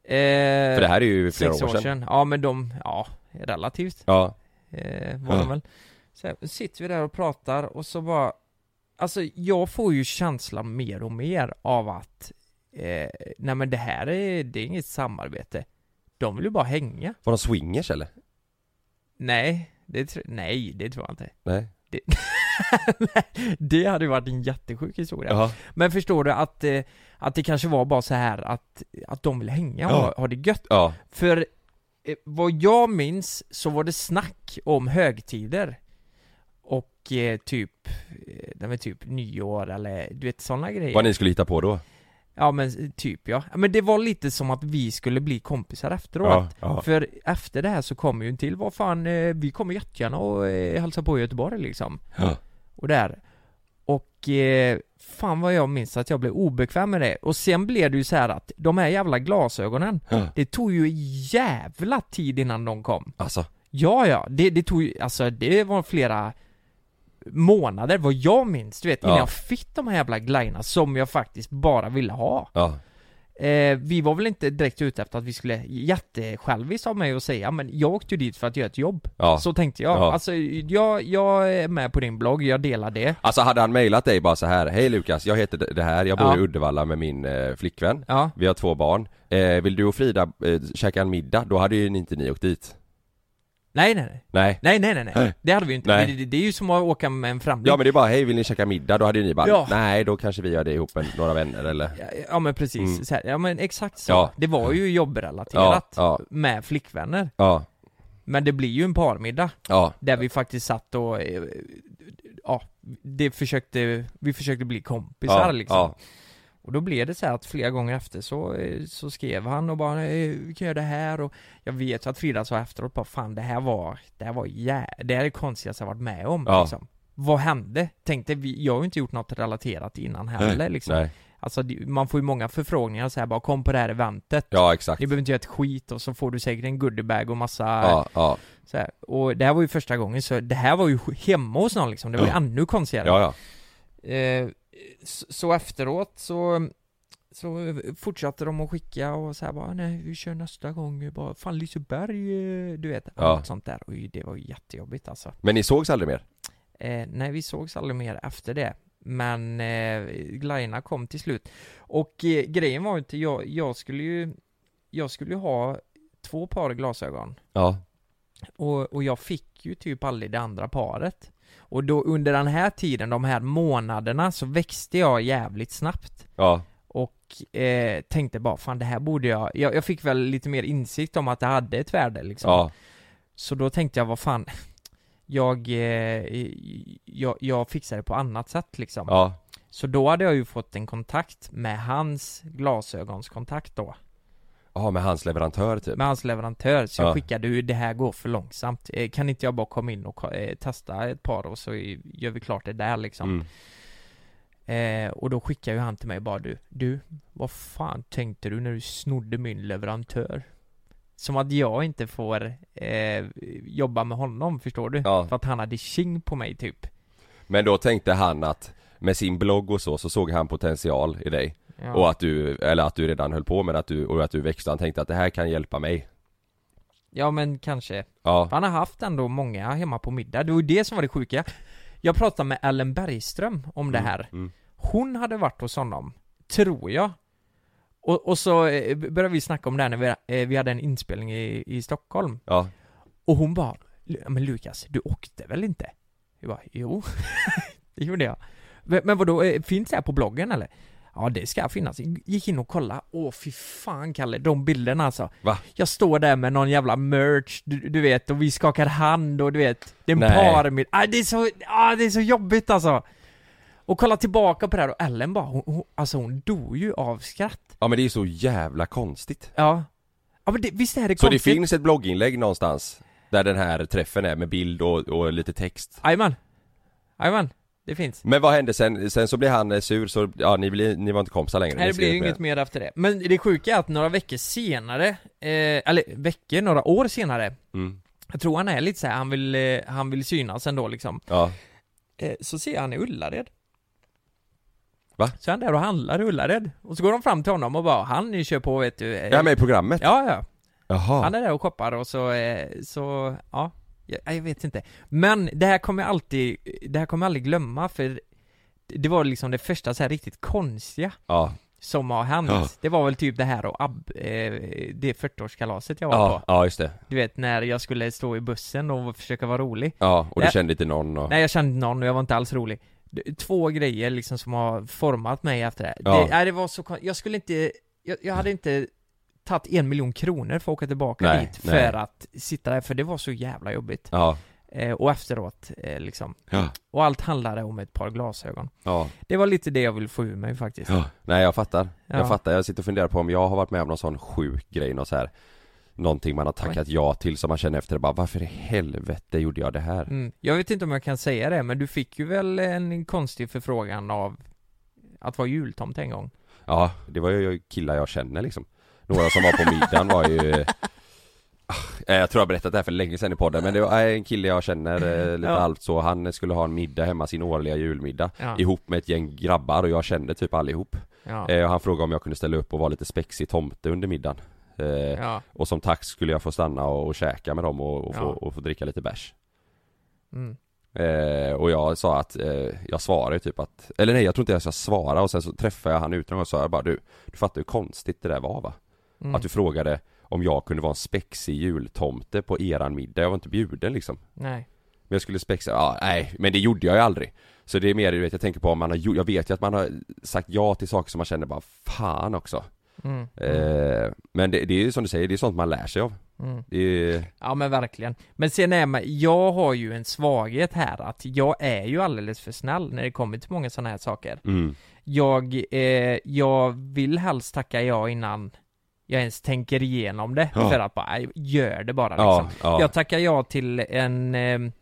För det här är ju flera
sex
år sedan.
Ja men de, ja, relativt
Ja.
eh, var
Ja.
de väl så här, sitter vi där och pratar och så bara Alltså jag får ju känslan mer och mer av att eh, Nej men det här är, det är inget samarbete De vill ju bara hänga
Var de swingers eller?
Nej, det, tr- nej, det tror jag inte.
Nej.
Det, det hade ju varit en jättesjuk historia.
Jaha.
Men förstår du att, eh, att det kanske var bara så här att, att de vill hänga och
Ja.
ha- ha det gött.
Ja.
För eh, vad jag minns så var det snack om högtider. Och eh, typ, eh, nej, men typ nyår eller du vet sådana grejer.
Vad ni skulle hitta på då?
Ja men typ ja. Men det var lite som att vi skulle bli kompisar efteråt.
Ja, ja.
För efter det här så kommer ju en till, vad fan, eh, vi kommer jättegärna och eh, hälsa på i Göteborg liksom.
Ja.
Och där. Och eh, Fan vad jag minns att jag blev obekväm med det. Och sen blev det ju så här att de här jävla glasögonen,
Ja.
det tog ju jävla tid innan de kom.
Alltså.
Ja, ja. Det, det tog ju, alltså det var flera månader vad jag minns, du vet, innan
Ja.
jag fick de här jävla glajjorna som jag faktiskt bara ville ha.
Ja.
Eh, vi var väl inte direkt ute efter att vi skulle, jättesjälvis av mig att säga, men jag åkte ju dit för att göra ett jobb.
Ja.
Så tänkte jag.
Ja.
Alltså, jag, jag är med på din blogg, jag delar det.
Alltså hade han mejlat dig bara så här Hej Lukas, jag heter det här, jag bor
Ja.
i Uddevalla med min eh, flickvän
Ja.
Vi har två barn eh, Vill du och Frida eh, käka en middag? Då hade ju inte ni åkt dit
Nej, nej, nej.
Nej
Nej, nej, nej, nej.
Nej.
Det hade vi ju inte.
Nej.
Det, det, det är ju som att åka med en framling.
Ja men det är bara, hej vill ni käka middag? Då hade ju ni bara,
Ja.
nej då kanske vi gör det ihop med några vänner eller
Ja men precis,
Mm.
så här, ja men exakt så.
Ja.
Det var ju jobbrelaterat
Ja, ja.
med flickvänner.
Ja,
Men det blir ju en parmiddag.
Ja.
Där vi faktiskt satt och, eh, ja, det försökte, vi försökte bli kompisar
Ja,
liksom.
ja.
Och då blev det så här att flera gånger efter så, eh, så skrev han och bara eh, vi kan göra det här och jag vet att Frida sa efteråt bara fan det här var, det här var jä... det här är det konstigaste jag varit med om
Ja.
liksom. Vad hände? Tänkte vi, jag har ju inte gjort något relaterat innan heller
Nej,
liksom.
nej.
Alltså det- man får ju många förfrågningar så här bara kom på det här eventet.
Ja, exakt.
Ni behöver inte göra ett skit och så får du säkert en goodiebag och massa
Ja, ja.
Så här. Och det här var ju första gången så det här var ju hemma hos någon liksom. Det var ju
Ja.
ännu konstigare.
Ja, ja.
Eh, så, så efteråt så, så fortsatte de att skicka och så här bara nej vi kör nästa gång bara fan Liseberg eh, du vet.
Ja.
Något sånt där. Och det var ju jättejobbigt alltså.
Men ni sågs aldrig mer?
Eh, nej, vi sågs aldrig mer efter det. Men eh, glajjorna kom till slut. Och eh, grejen var ju inte, jag, jag skulle ju Jag skulle ju ha två par glasögon.
Ja,
Och, och jag fick ju typ aldrig det andra paret. Och då under den här tiden, de här månaderna, så växte jag jävligt snabbt.
ja,
Och eh, tänkte bara, fan det här borde jag... jag Jag fick väl lite mer insikt om att det hade ett värde liksom.
ja,
Så då tänkte jag, vad fan jag, eh, jag, jag fixar det på annat sätt liksom
Ja.
Så då hade jag ju fått en kontakt med hans glasögonskontakt då
ja med hans leverantör typ
Med hans leverantör, så jag
Ja.
skickade ju det här går för långsamt Eh, Kan inte jag bara komma in och ko- eh, testa ett par och så i- gör vi klart det där
Mm.
liksom eh, Och då skickade ju han till mig bara du, du, vad fan tänkte du när du snodde min leverantör? Som att jag inte får eh, jobba med honom, förstår du? För att han hade tjing på mig typ
Men då tänkte han att med sin blogg och så, så såg han potential i dig
Ja.
Och att du, eller att du redan höll på med det, att du, och att du växte, han tänkte att det här kan hjälpa mig
Ja men kanske.
Ja.
För Han har haft ändå många hemma på middag, det var ju det som var det sjuka. Jag pratade med Ellen Bergström om det här. Hon hade varit hos honom, tror jag. Och, och så eh, började vi snacka om det här när vi, eh, vi hade en inspelning i, i Stockholm.
Ja.
Och hon bara, "Lu- men Lukas, du åkte väl inte? Jag bara, jo. det gjorde jag. Men, men vadå, eh, finns det här på bloggen eller? Ja det ska finnas. Gick in och kolla. Åh fy fan Kalle, de bilderna alltså.
Va?
Jag står där med någon jävla merch, du, du vet, och vi skakar hand och du vet. Det är en
Nej.
parmiddag. Ah, det, är så- ah, det är så jobbigt alltså. Och kolla tillbaka på det här och Ellen bara, hon, hon, alltså hon dog ju av skratt.
Ja men det är ju så jävla konstigt
Ja. Ja men det, visst är det
Så det
konstigt?
finns ett blogginlägg någonstans Där den här träffen är med bild och, och lite text
Jajamän. Jajamän, det finns.
Men vad hände sen? Sen så blev han eh, sur så, ja ni, blir, ni var inte kompisar längre
Nej
ni
det blir
skrev
ju
med-
inget mer efter det. Men det sjuka är att några veckor senare, eh, eller veckor, några år senare
Mm.
Jag tror han är lite såhär, han vill, eh, han vill synas ändå liksom
Ja.
eh, Så ser jag han i Ullared
Va?
Så är han där och handlar i Ullared Och så går de fram till honom och bara, han ni kör på vet du eh,
Är han med i programmet?
Ja ja
Jaha
Han är där och shoppar och så, eh, så, ja jag, jag vet inte Men det här kommer jag alltid, det här kommer jag aldrig glömma för Det var liksom det första så här riktigt konstiga
Ja.
Som har hänt
Ja.
Det var väl typ det här och Ab, eh, det 40-årskalaset jag var
Ja,
på
ja just det
Du vet när jag skulle stå i bussen och försöka vara rolig
Ja, och du
Nej.
kände inte någon och...
Nej jag kände någon och jag var inte alls rolig D- Två grejer liksom som har format mig efter det här.
Ja.
det, nej, det var så kon- jag skulle inte, jag, jag hade inte tagit en miljon kronor för att åka tillbaka
Nej,
dit
nej.
för att sitta där, för det var så jävla jobbigt
Ja.
eh, Och efteråt eh, liksom
Ja.
Och allt handlade om ett par glasögon
Ja.
Det var lite det jag ville få ur mig faktiskt
Ja, nej jag fattar.
Ja.
Jag fattar, jag sitter och funderar på om jag har varit med om någon sån sjuk grej, någon så här Någonting man har tackat ja till som man känner efter bara varför i helvete gjorde jag det här?
Mm. Jag vet inte om jag kan säga det, men du fick ju väl en konstig förfrågan av att vara jultomte en gång.
Ja, det var ju killar jag känner liksom Några som var på middagen var ju Ah, Jag tror jag har berättat det här för länge sedan i podden men det var eh, en kille jag känner eh, lite
Ja.
halvt så Han skulle ha en middag hemma, sin årliga julmiddag
Ja.
Ihop med ett gäng grabbar och jag kände typ allihop
Ja.
eh, och Han frågade om jag kunde ställa upp och vara lite spexig tomte under middagen eh,
Ja.
Och som tack skulle jag få stanna och, och käka med dem och, och, få,
Ja.
och få dricka lite bärs
Mm.
Eh, och jag sa att, eh, jag svarade typ att, eller nej jag tror inte ens jag svarade och sen så träffade jag han utan och sa jag bara du, du fattar hur konstigt det där var va?
Mm.
Att du frågade om jag kunde vara en spexig jultomte på eran middag, jag var inte bjuden liksom
Nej.
Men jag skulle spexa, ja nej, men det gjorde jag ju aldrig Så det är mer, du vet jag tänker på om man har gjort, jag vet ju att man har sagt ja till saker som man känner bara fan också
Mm.
eh, Men det, det är ju som du säger, det är sånt man lär sig av
Mm.
Det är,
Ja men verkligen. Men sen är man, jag har ju en svaghet här att jag är ju alldeles för snäll när det kommer till många sådana här saker.
Mm.
Jag, eh, jag vill helst tacka ja innan jag ens tänker igenom det
Ja.
för att bara, "Aj, gör det bara
Ja,
liksom.
ja.
Jag tackar ja till en ehm,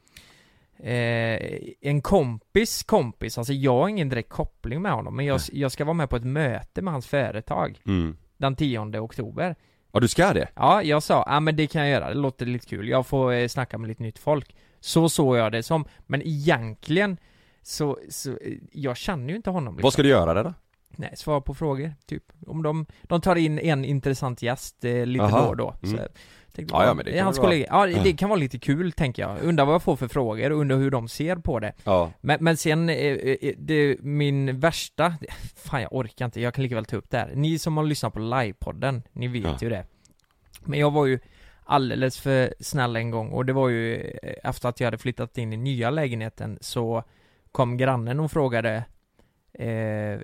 Eh, en kompis kompis, alltså jag har ingen direkt koppling med honom men jag, jag ska vara med på ett möte med hans företag
mm.
den 10 oktober
Ja du ska det?
Ja, jag sa, ja men det kan jag göra, det låter lite kul, jag får eh, snacka med lite nytt folk Så såg jag det som, men egentligen så, så eh, jag känner ju inte honom liksom.
Vad ska du göra där då?
Nej, svara på frågor, typ Om de, de tar in en intressant gäst eh, lite
Aha.
då och då så
Mm.
här. tänkte,
Ja, ja, men det
är
kan
hans
väl vara-
kollega. Ja, det kan vara lite kul tänker jag, undrar vad jag får för frågor, undrar hur de ser på det
Ja.
men, men sen, eh, eh, det, min värsta, fan jag orkar inte, jag kan lika väl ta upp det här. Ni som har lyssnat på livepodden, ni vet
Ja.
ju det. Men jag var ju alldeles för snäll en gång och det var ju eh, efter att jag hade flyttat in i nya lägenheten så kom grannen och frågade eh,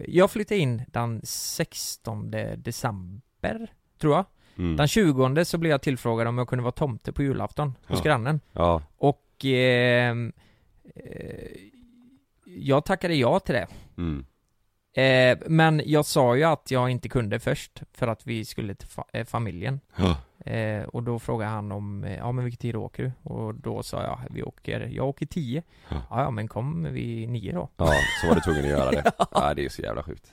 Jag flyttade in den 16 december, tror jag.
Mm.
Den 20 så blev jag tillfrågad om jag kunde vara tomte på julafton hos
Ja.
grannen.
Ja.
Och ehm, eh, jag tackade ja till det.
Mm.
Eh, men jag sa ju att jag inte kunde först, för att vi skulle till fa- eh, familjen.
Ja.
Eh, och då frågade han om, eh, ja men vilken tid åker du? Och då sa jag, vi åker, jag åker 10. Ja, ja men kom vi nio då.
Ja, så var du tvungen att göra det. Ja, det är så jävla sjukt.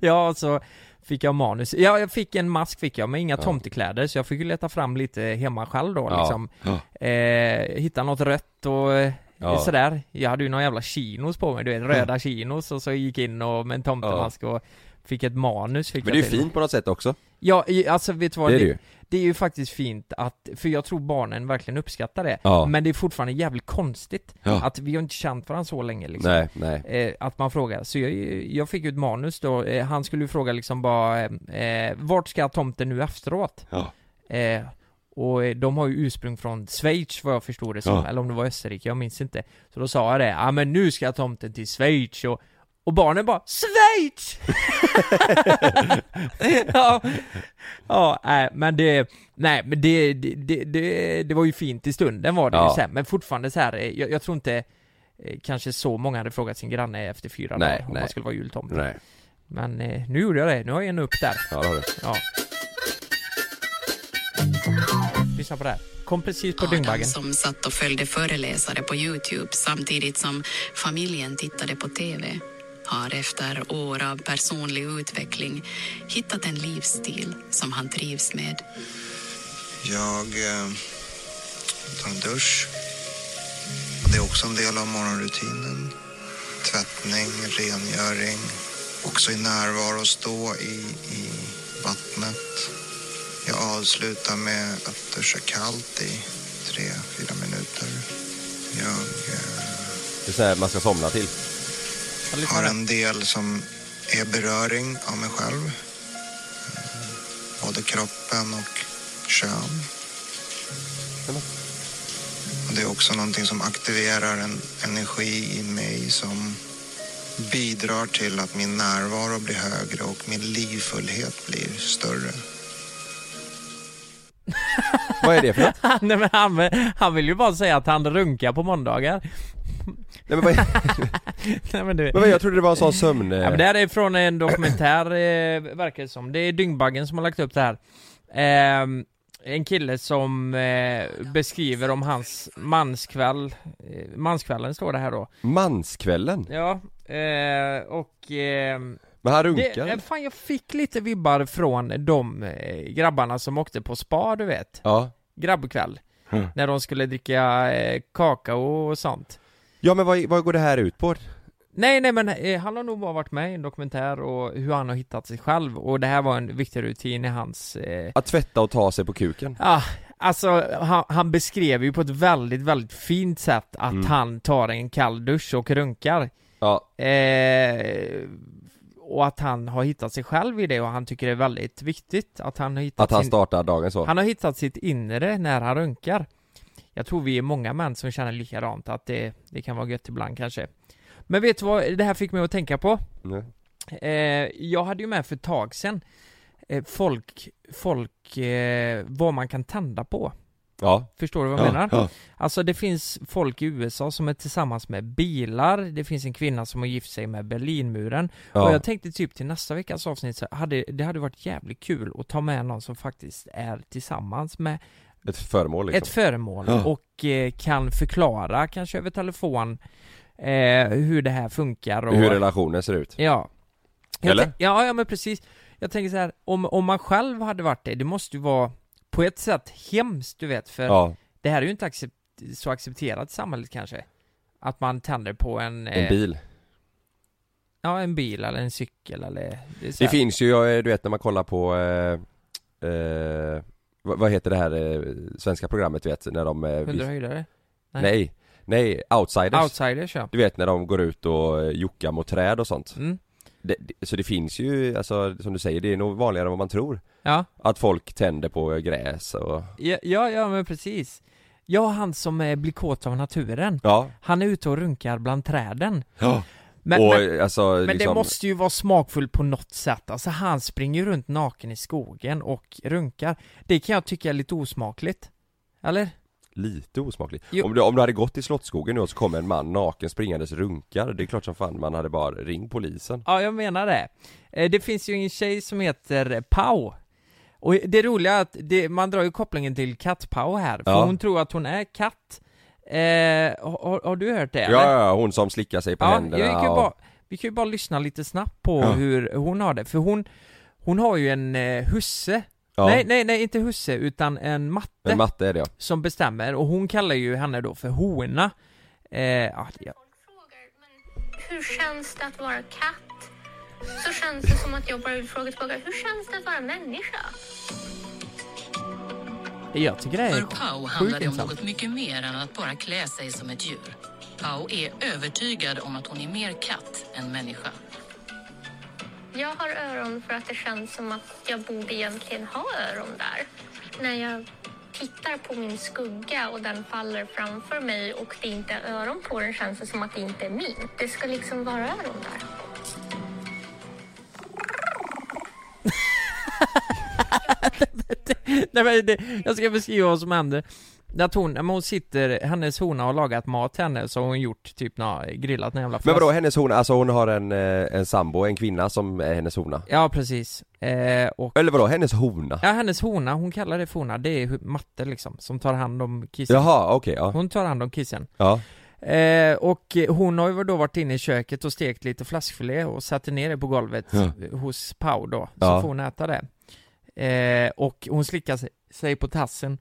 Ja, och så fick jag manus. Ja, jag fick en mask fick jag, men inga
Ja.
tomtekläder, så jag fick ju leta fram lite hemma själv då
Ja.
liksom. Eh, hitta något rött och eh,
Ja.
sådär. Jag hade ju några jävla chinos på mig, du vet, röda chinos och så gick in och med en tomtemask och fick ett manus fick
Men det är
jag
ju
till.
fint på något sätt också.
Ja, i- alltså vet du vad?
Det är det ju.
det är ju faktiskt fint att, för jag tror barnen verkligen uppskattar det.
Ja.
Men det är fortfarande jävligt konstigt
Ja.
att vi har inte känt varandra så länge liksom.
Nej, nej.
Eh, att man frågar. Så jag, jag fick ju ett manus då, eh, han skulle ju fråga liksom bara, eh, vart ska tomten nu efteråt?
Ja.
Eh, och eh, de har ju ursprung från Schweiz vad jag förstod det som,
Ja.
eller om det var Österrike, jag minns inte. Så då sa jag det, ja men nu ska tomten till Schweiz och, och barnen bara Schweiz! ja, ja nej, men det, nej men det, det, det, det, det var ju fint i stunden var det
Ja.
ju sen, men fortfarande så här, eh, jag, jag tror inte eh, kanske så många hade frågat sin granne efter fyra
Nej,
dagar om
nej.
man skulle vara jultomte.
Nej.
Men eh, nu gjorde jag det, nu har jag en upp där.
Ja, det har du.
Ja. Lyssna på det här. Kom precis på dyngbaggen.
som satt och följde föreläsare på Youtube samtidigt som familjen tittade på TV har efter år av personlig utveckling hittat en livsstil som han trivs med.
Jag eh, tar en dusch. Det är också en del av morgonrutinen. Tvättning, rengöring. Också i närvaro, stå i, i vattnet. Jag avslutar med att duscha kallt i tre, fyra minuter. Jag
Det är så här man ska somna till.
har en del som är beröring av mig själv. Eh, Både kroppen och kön. Och det är också någonting som aktiverar en energi i mig som bidrar till att min närvaro blir högre och min livfullhet blir större.
Vad är det för något?
Nej, men han, vill- han vill ju bara säga att han runkar på måndagar.
Nej men vad
Nej, men, du...
Men vad, jag trodde det var en sån sömn... eh,
Ja, men det här är från en dokumentär, eh, verkar det som. Det är Dyngbaggen som har lagt upp det här. Ehm, en kille som eh, beskriver om hans manskväll, eh, manskvällen står det här då.
Manskvällen?
Ja, Eh, och... Eh,
Men han
det,
runkar.
eh, fan jag fick lite vibbar från de eh, grabbarna som åkte på spa du vet
Ja.
Grabbkväll
Mm.
När de skulle dricka eh, kakao och sånt
Ja men vad, vad går det här ut på?
Nej nej men eh, han har nog bara varit med i en dokumentär och hur han har hittat sig själv och det här var en viktig rutin i hans eh,
Att tvätta och ta sig på kuken?
Ja, alltså han, han beskrev ju på ett väldigt, väldigt fint sätt att
Mm.
han tar en kall dusch och runkar.
Ja.
Eh, och att han har hittat sig själv i det och han tycker det är väldigt viktigt att han har hittat
Att han
sin...
startar dagen så?
Han har hittat sitt inre när han runkar. Jag tror vi är många män som känner likadant, att det, det kan vara gött ibland kanske. Men vet du vad det här fick mig att tänka på?
Nej.
Eh, jag hade ju med för ett tag sedan eh, folk, folk, eh, vad man kan tända på.
Ja.
Förstår du vad jag
Ja,
menar?
ja.
Alltså det finns folk i USA som är tillsammans med bilar, det finns en kvinna som har gift sig med Berlinmuren.
Ja.
Och jag tänkte typ till nästa veckas avsnitt så hade, det hade varit jävligt kul att ta med någon som faktiskt är tillsammans med
Ett föremål liksom?
ett föremål
Ja.
och eh, kan förklara, kanske över telefon, eh, hur det här funkar och
Hur relationen ser ut?
Ja. Jag
Eller?
tän- Ja, ja men precis. Jag tänker så här, om, om man själv hade varit det, det måste ju vara på ett sätt hemskt du vet, för
Ja.
det här är ju inte accept- så accepterat i samhället kanske. Att man tänder på en... eh,
En bil?
Ja, en bil eller en cykel eller... Det, är så
Det
här.
finns ju, jag- du vet när man kollar på eh, eh, vad vad heter det här eh, svenska programmet du vet när de eh,
Hundra höjdare?
Nej. nej, nej, outsiders
Outsiders, ja.
Du vet när de går ut och eh, jockar mot träd och sånt
Mm.
det, det- Så det finns ju, alltså som du säger, det är nog vanligare än vad man tror
Ja.
Att folk tänder på gräs och
Ja, ja, ja men precis. Jag och han som eh, blir kåt av naturen.
Ja.
Han är ute och runkar bland träden.
Ja.
Men,
Och,
men,
alltså,
men det
liksom-
måste ju vara smakfullt på något sätt. Alltså han springer ju runt naken i skogen och runkar. Det kan jag tycka är lite osmakligt. Eller?
Lite osmakligt.
Jo.
Om du, om du hade gått i Slottsskogen nu och så kom en man naken springandes runkar, det är klart som fan man hade bara ring polisen
Ja, jag menar det. Eh, Det finns ju en tjej som heter Pau. Och det roliga är att det, man drar ju kopplingen till katt-Pau här, för
Ja.
hon tror att hon är katt. Eh, har, har du hört det?
Ja,
eller?
ja, hon som slickar sig på händerna
jag kan ju
och-
bara, vi kan ju bara lyssna lite snabbt på
Ja.
hur hon har det, för hon, hon har ju en eh, husse
Ja.
Nej, nej, nej, inte husse, utan en matte
En matte är det ja
som bestämmer, och hon kallar ju henne då för hona eh, ja, det-
Hur känns det att vara katt? Så känns det som att jag bara vill fråga tillbaka. Hur känns det att vara människa?
Jag tycker det
För
är
Pau handlar
sjukt
det om
intressant
något mycket mer än att bara klä sig som ett djur. Pau är övertygad om att hon är mer katt än människa.
Jag har öron för att det känns som att jag borde egentligen ha öron där. När jag tittar på min skugga och den faller framför mig och det inte är öron på den känns det som att det inte är min. Det ska liksom vara öron där.
Nej men det, jag ska beskriva vad som hände Att hon, men hon sitter, hennes hona har lagat mat till henne, så har hon gjort typ, nå, grillat en jävla
Men
fläsk.
vadå hennes hona, alltså hon har en, eh, en sambo, en kvinna som är hennes hona?
Ja precis, eh, och...
Eller vadå, hennes hona?
Ja, hennes hona, hon kallar det för hona, det är hu- matte liksom, som tar hand om kissen
Jaha, okej, ja.
Hon tar hand om kissen
Ja,
eh, Och eh, hon har ju då varit inne i köket och stekt lite fläskfilé och satte ner det på golvet
Ja.
eh, hos Pau då, så
Ja.
får hon äta det eh, Och hon slickar sig- sig på tassen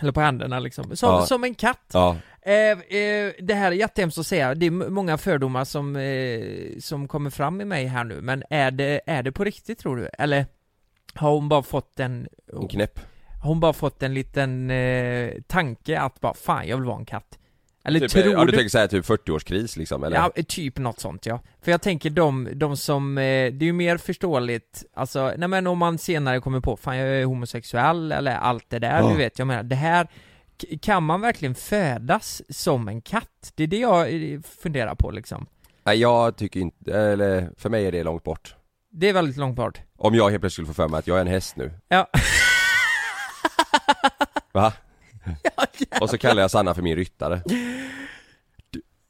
Eller på händerna liksom, som,
Ja.
som en katt
ja,
Eh, eh, det här är jättehemskt att säga, det är m- många fördomar som, eh, som kommer fram i mig här nu, men är det, är det på riktigt tror du? Eller har hon bara fått en...
en knäpp
Har hon bara fått en liten eh, tanke att bara, fan jag vill vara en katt? Eller
typ,
tror
Ja du
du...
tänker säga typ 40-årskris liksom eller?
Ja, eh, typ något sånt ja. För jag tänker de, de som, eh, det är ju mer förståeligt, alltså, nej men om man senare kommer på, fan jag är homosexuell eller allt det där,
Ja.
du vet, jag menar, det här, k- kan man verkligen födas som en katt? Det är det jag eh, funderar på liksom.
Nej jag tycker inte, eller för mig är det långt bort
Det är väldigt långt bort.
Om jag helt plötsligt skulle få för mig att jag är en häst nu
Ja.
Va? och så kallar jag Sanna för min ryttare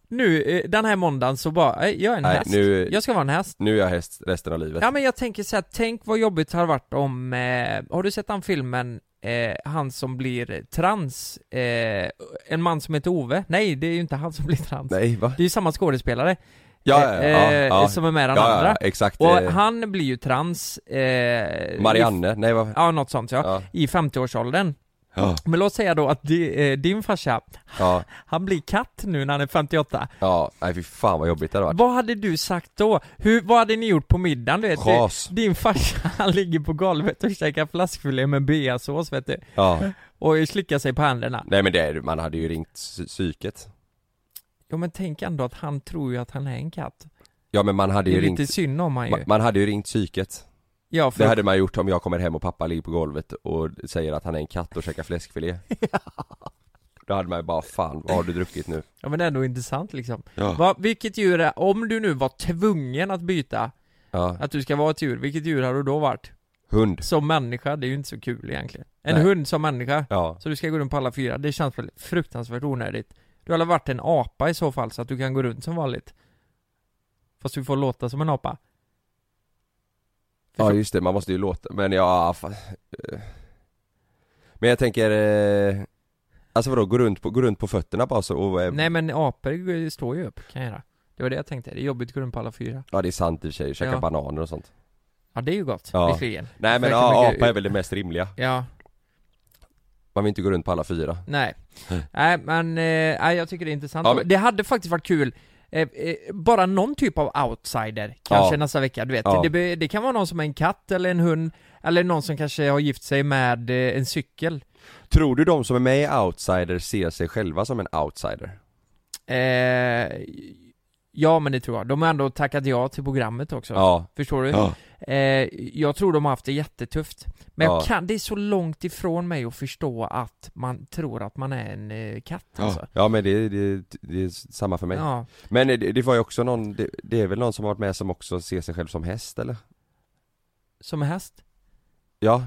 Nu, eh, den här måndagen så bara, eh, jag är en
Nej,
häst.
nu-
Jag ska vara en häst.
Nu är jag häst resten av livet
Ja men jag tänker så här, tänk vad jobbigt det hade varit om, eh, har du sett den filmen, eh, han som blir trans, eh, en man som heter Ove? Nej, det är ju inte han som blir trans.
Nej va?
Det är ju samma skådespelare.
Ja, ja, ja,
eh,
ja, ja.
Som är med den
Ja, ja,
andra.
exakt.
Och
Eh.
han blir ju trans... Eh,
Marianne,
i-
nej, vad-
Ja, något sånt ja. I 50-årsåldern.
Ja.
Men låt säga då att di, eh, din farsa,
Ja,
han blir katt nu när han är 58.
ja, nej fy fan vad jobbigt det hade varit.
Vad hade du sagt då? Hur, vad hade ni gjort på middagen du vet?
Schas.
Din farsa, han ligger på golvet och käkar flaskfilé med beasås vet du.
Ja.
Och slickar sig på händerna.
Nej men det, är- man hade ju ringt psy- psyket.
Jo men tänk ändå att han tror ju att han är en katt.
Ja men man hade
Det
ju
är
ringt...
lite synd om han ju.
Ma- Man hade ju ringt psyket.
Ja, för-
Det hade man gjort om jag kommer hem och pappa ligger på golvet och säger att han är en katt och käkar fläskfilé. Då hade man ju bara, fan vad har du druckit nu?
Ja men det är ändå intressant liksom.
Ja.
Vad- vilket djur är, om du nu var tvungen att byta,
Ja.
att du ska vara ett djur, vilket djur har du då varit?
Hund.
Som människa, det är ju inte så kul egentligen. En
Nej.
hund som människa,
Ja.
så du ska gå runt på alla fyra, det känns väl fruktansvärt onödigt. Du har varit en apa i så fall, så att du kan gå runt som vanligt. Fast du får låta som en apa.
Ja just det, man måste ju låta, men ja, fan. eh. Men jag tänker, eh, alltså vadå, gå runt på, gå runt på fötterna bara så och, eh,
Nej men apor g- står ju upp, kan jag göra. Det var det jag tänkte, det är jobbigt att gå runt på alla fyra.
ja det är sant i och för sig, käka
Ja.
bananer och sånt.
Ja det är ju gott,
Ja.
visserligen.
Nej men
Verkar
ja,
mycket-
apa är väl det mest rimliga.
Ja,
Man vill inte gå runt på alla fyra.
Nej, nej men eh, nej, jag tycker det är intressant.
Ja, men-
Det hade faktiskt varit kul, eh, eh, bara någon typ av outsider kanske
Ja.
nästa vecka, du vet.
Ja.
Det, be- det kan vara någon som är en katt eller en hund, eller någon som kanske har gift sig med eh, en cykel.
Tror du de som är med i Outsider ser sig själva som en outsider?
Eh, ja men det tror jag. De har ändå tackat ja till programmet också.
Ja.
Förstår du?
Ja.
Eh, jag tror de har haft det jättetufft. Men jag
Ja.
kan, det är så långt ifrån mig att förstå att man tror att man är en eh, katt alltså.
Ja, ja men det, det, det är samma för mig.
Ja.
Men det, det var ju också någon, det, det är väl någon som har varit med som också ser sig själv som häst eller?
Som en häst.
Ja,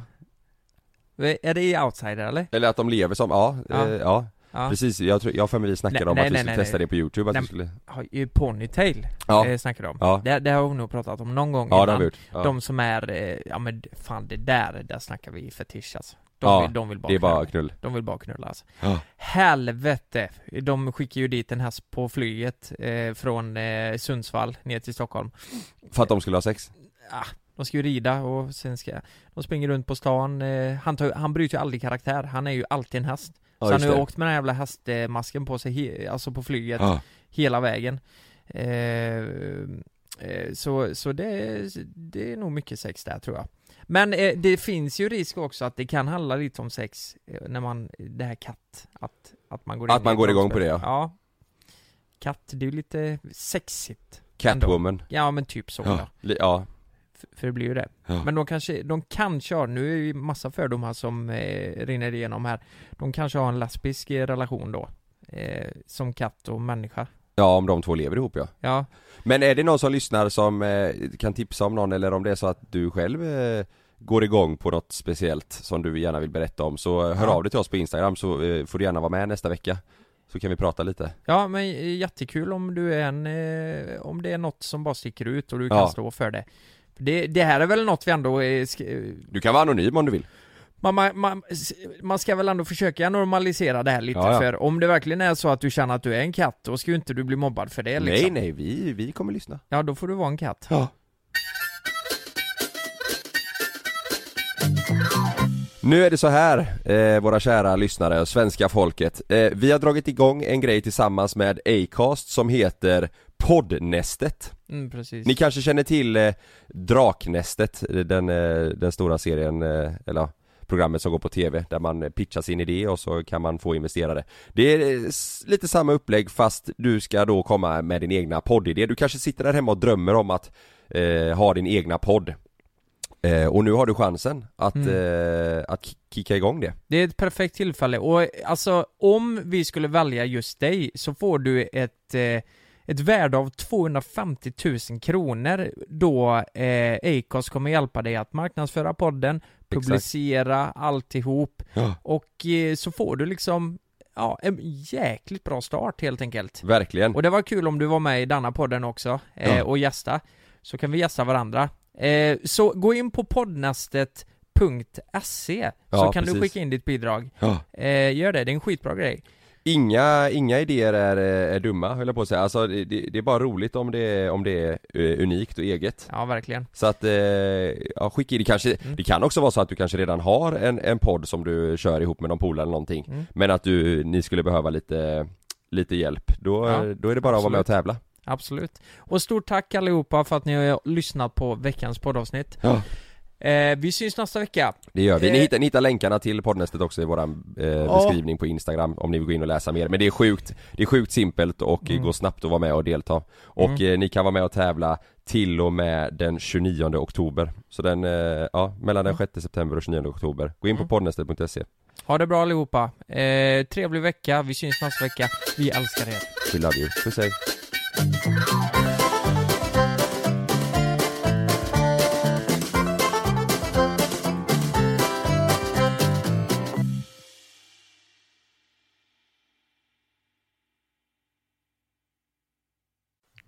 Är det i outsider eller?
eller att de lever som, ja,
Ja.
ja, eh, ja.
Ja.
precis. Jag tror, jag har för mig vi snackade om att vi skulle testa det på youtube, att
Nej,
vi skulle
ja, ju Ponytail
Ja.
eh, snackade de om.
Ja.
Det, det har vi nog pratat om någon gång
Ja, det har
innan.
vi gjort. Ja.
De som är, eh, ja men fan det där, där snackar vi fetisch alltså. De,
Ja,
vill, de vill bara
det är bara knull.
De vill bara knulla alltså.
Ja.
Helvete! De skickar ju dit en häst på flyget eh, från eh, Sundsvall ner till Stockholm.
För att de skulle ha sex?
Ah, de ska ju rida och sen ska De springer runt på stan, eh, han, tar, ju- han bryter ju aldrig karaktär, han är ju alltid en häst
Ja,
Så han
just
har ju
det.
åkt med den här jävla hästmasken på sig, he, alltså på flyget,
Ja.
hela vägen eh, eh, Så, så det, är- det är nog mycket sex där tror jag Men eh, det finns ju risk också att det kan handla lite om sex eh, när man, det här katt, att, att man går
Att
in i
man
ett
går igång
rollspel.
på det, ja.
ja Katt, det är ju lite sexigt ändå.
Catwoman
Ja men typ så ja.
Ja, li- ja.
F- För det blir ju det.
Ja.
Men de kanske, de kanske har, nu är ju massa fördomar som eh, rinner igenom här. De kanske har en lesbisk eh, relation då. Eh, som katt och människa.
Ja, om de två lever ihop ja.
Ja.
Men är det någon som lyssnar som eh, kan tipsa om någon eller om det är så att du själv eh, går igång på något speciellt som du gärna vill berätta om så eh, hör
Ja.
av dig till oss på Instagram så eh, får du gärna vara med nästa vecka. Så kan vi prata lite.
Ja men eh, jättekul om du är en, eh, om det är något som bara sticker ut och du
Ja.
kan stå för det. För Det, det här är väl något vi ändå eh, sk-
Du kan vara anonym om du vill.
Man, man, man, man ska väl ändå försöka normalisera det här lite
Ja, ja.
för om det verkligen är så att du känner att du är en katt då ska ju inte du bli mobbad för det liksom.
Nej nej, vi, vi kommer lyssna.
Ja då får du vara en katt.
Ja. Nu är det så här, eh, våra kära lyssnare och svenska folket. Eh, vi har dragit igång en grej tillsammans med Acast som heter Poddnästet.
Mm, precis.
Ni kanske känner till eh, Draknästet, eh, den, eh, den stora serien, eh, eller ja, programmet som går på tv där man eh, pitchar sin idé och så kan man få investerare. Det är eh, s- lite samma upplägg fast du ska då komma med din egna poddidé. Du kanske sitter där hemma och drömmer om att eh, ha din egna podd. Eh, och nu har du chansen att, eh, att ki- kicka igång det.
Det är ett perfekt tillfälle och eh, alltså om vi skulle välja just dig så får du ett, eh, ett värde av 250 000 kronor då eh, Acast kommer hjälpa dig att marknadsföra podden, publicera alltihop
Ja.
och eh, så får du liksom Ja, en jäkligt bra start helt enkelt.
Verkligen.
Och det var kul om du var med i denna podden också eh,
Ja.
och gästa. Så kan vi gästa varandra. Eh, så gå in på poddnastet.se så
Ja,
kan du
precis.
skicka in ditt bidrag.
Ja.
Eh, gör det, det är en skitbra grej.
Inga, inga idéer är, är eh, dumma höll jag på att säga, alltså det, det det är bara roligt om det, är- om det är eh, unikt och eget
Ja, verkligen.
Så att, eh, ja skicka in, det kanske,
Mm.
det kan också vara så att du kanske redan har en, en podd som du kör ihop med någon polare eller någonting
Mm.
Men att du, ni skulle behöva lite, lite hjälp, då,
Ja,
då är det bara att vara med och
absolut.
tävla
Absolut. Och stort tack allihopa för att ni har lyssnat på veckans poddavsnitt.
Ja.
Eh, vi syns nästa vecka.
Det gör vi. Ni
Eh,
hittar, ni hittar länkarna till poddnästet också i våran eh, beskrivning på Instagram om ni vill gå in och läsa mer. Men det är sjukt, det är sjukt simpelt och eh,
Mm.
går snabbt att vara med och delta. Och
Mm.
eh, ni kan vara med och tävla till och med den 29 oktober. Så den, eh, ja, mellan den 6 september och 29 oktober. Gå in
Mm.
på poddnästet.se.
Ha det bra allihopa. Eh, trevlig vecka. Vi syns nästa vecka. Vi älskar er.
We love you. Puss hej.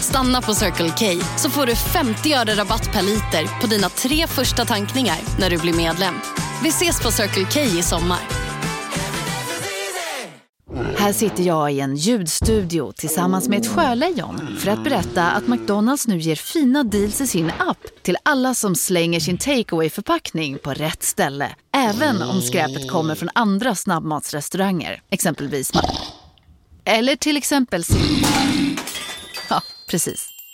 Stanna på Circle K så får du 50 öre rabatt per liter på dina tre första tankningar när du blir medlem. Vi ses på Circle K i sommar.
Här sitter jag i en ljudstudio tillsammans med ett sjölejon för att berätta att McDonalds nu ger fina deals i sin app till alla som slänger sin takeaway förpackning på rätt ställe. Även om skräpet kommer från andra snabbmatsrestauranger, exempelvis Ma- Eller till exempel Sim- Ja, precis.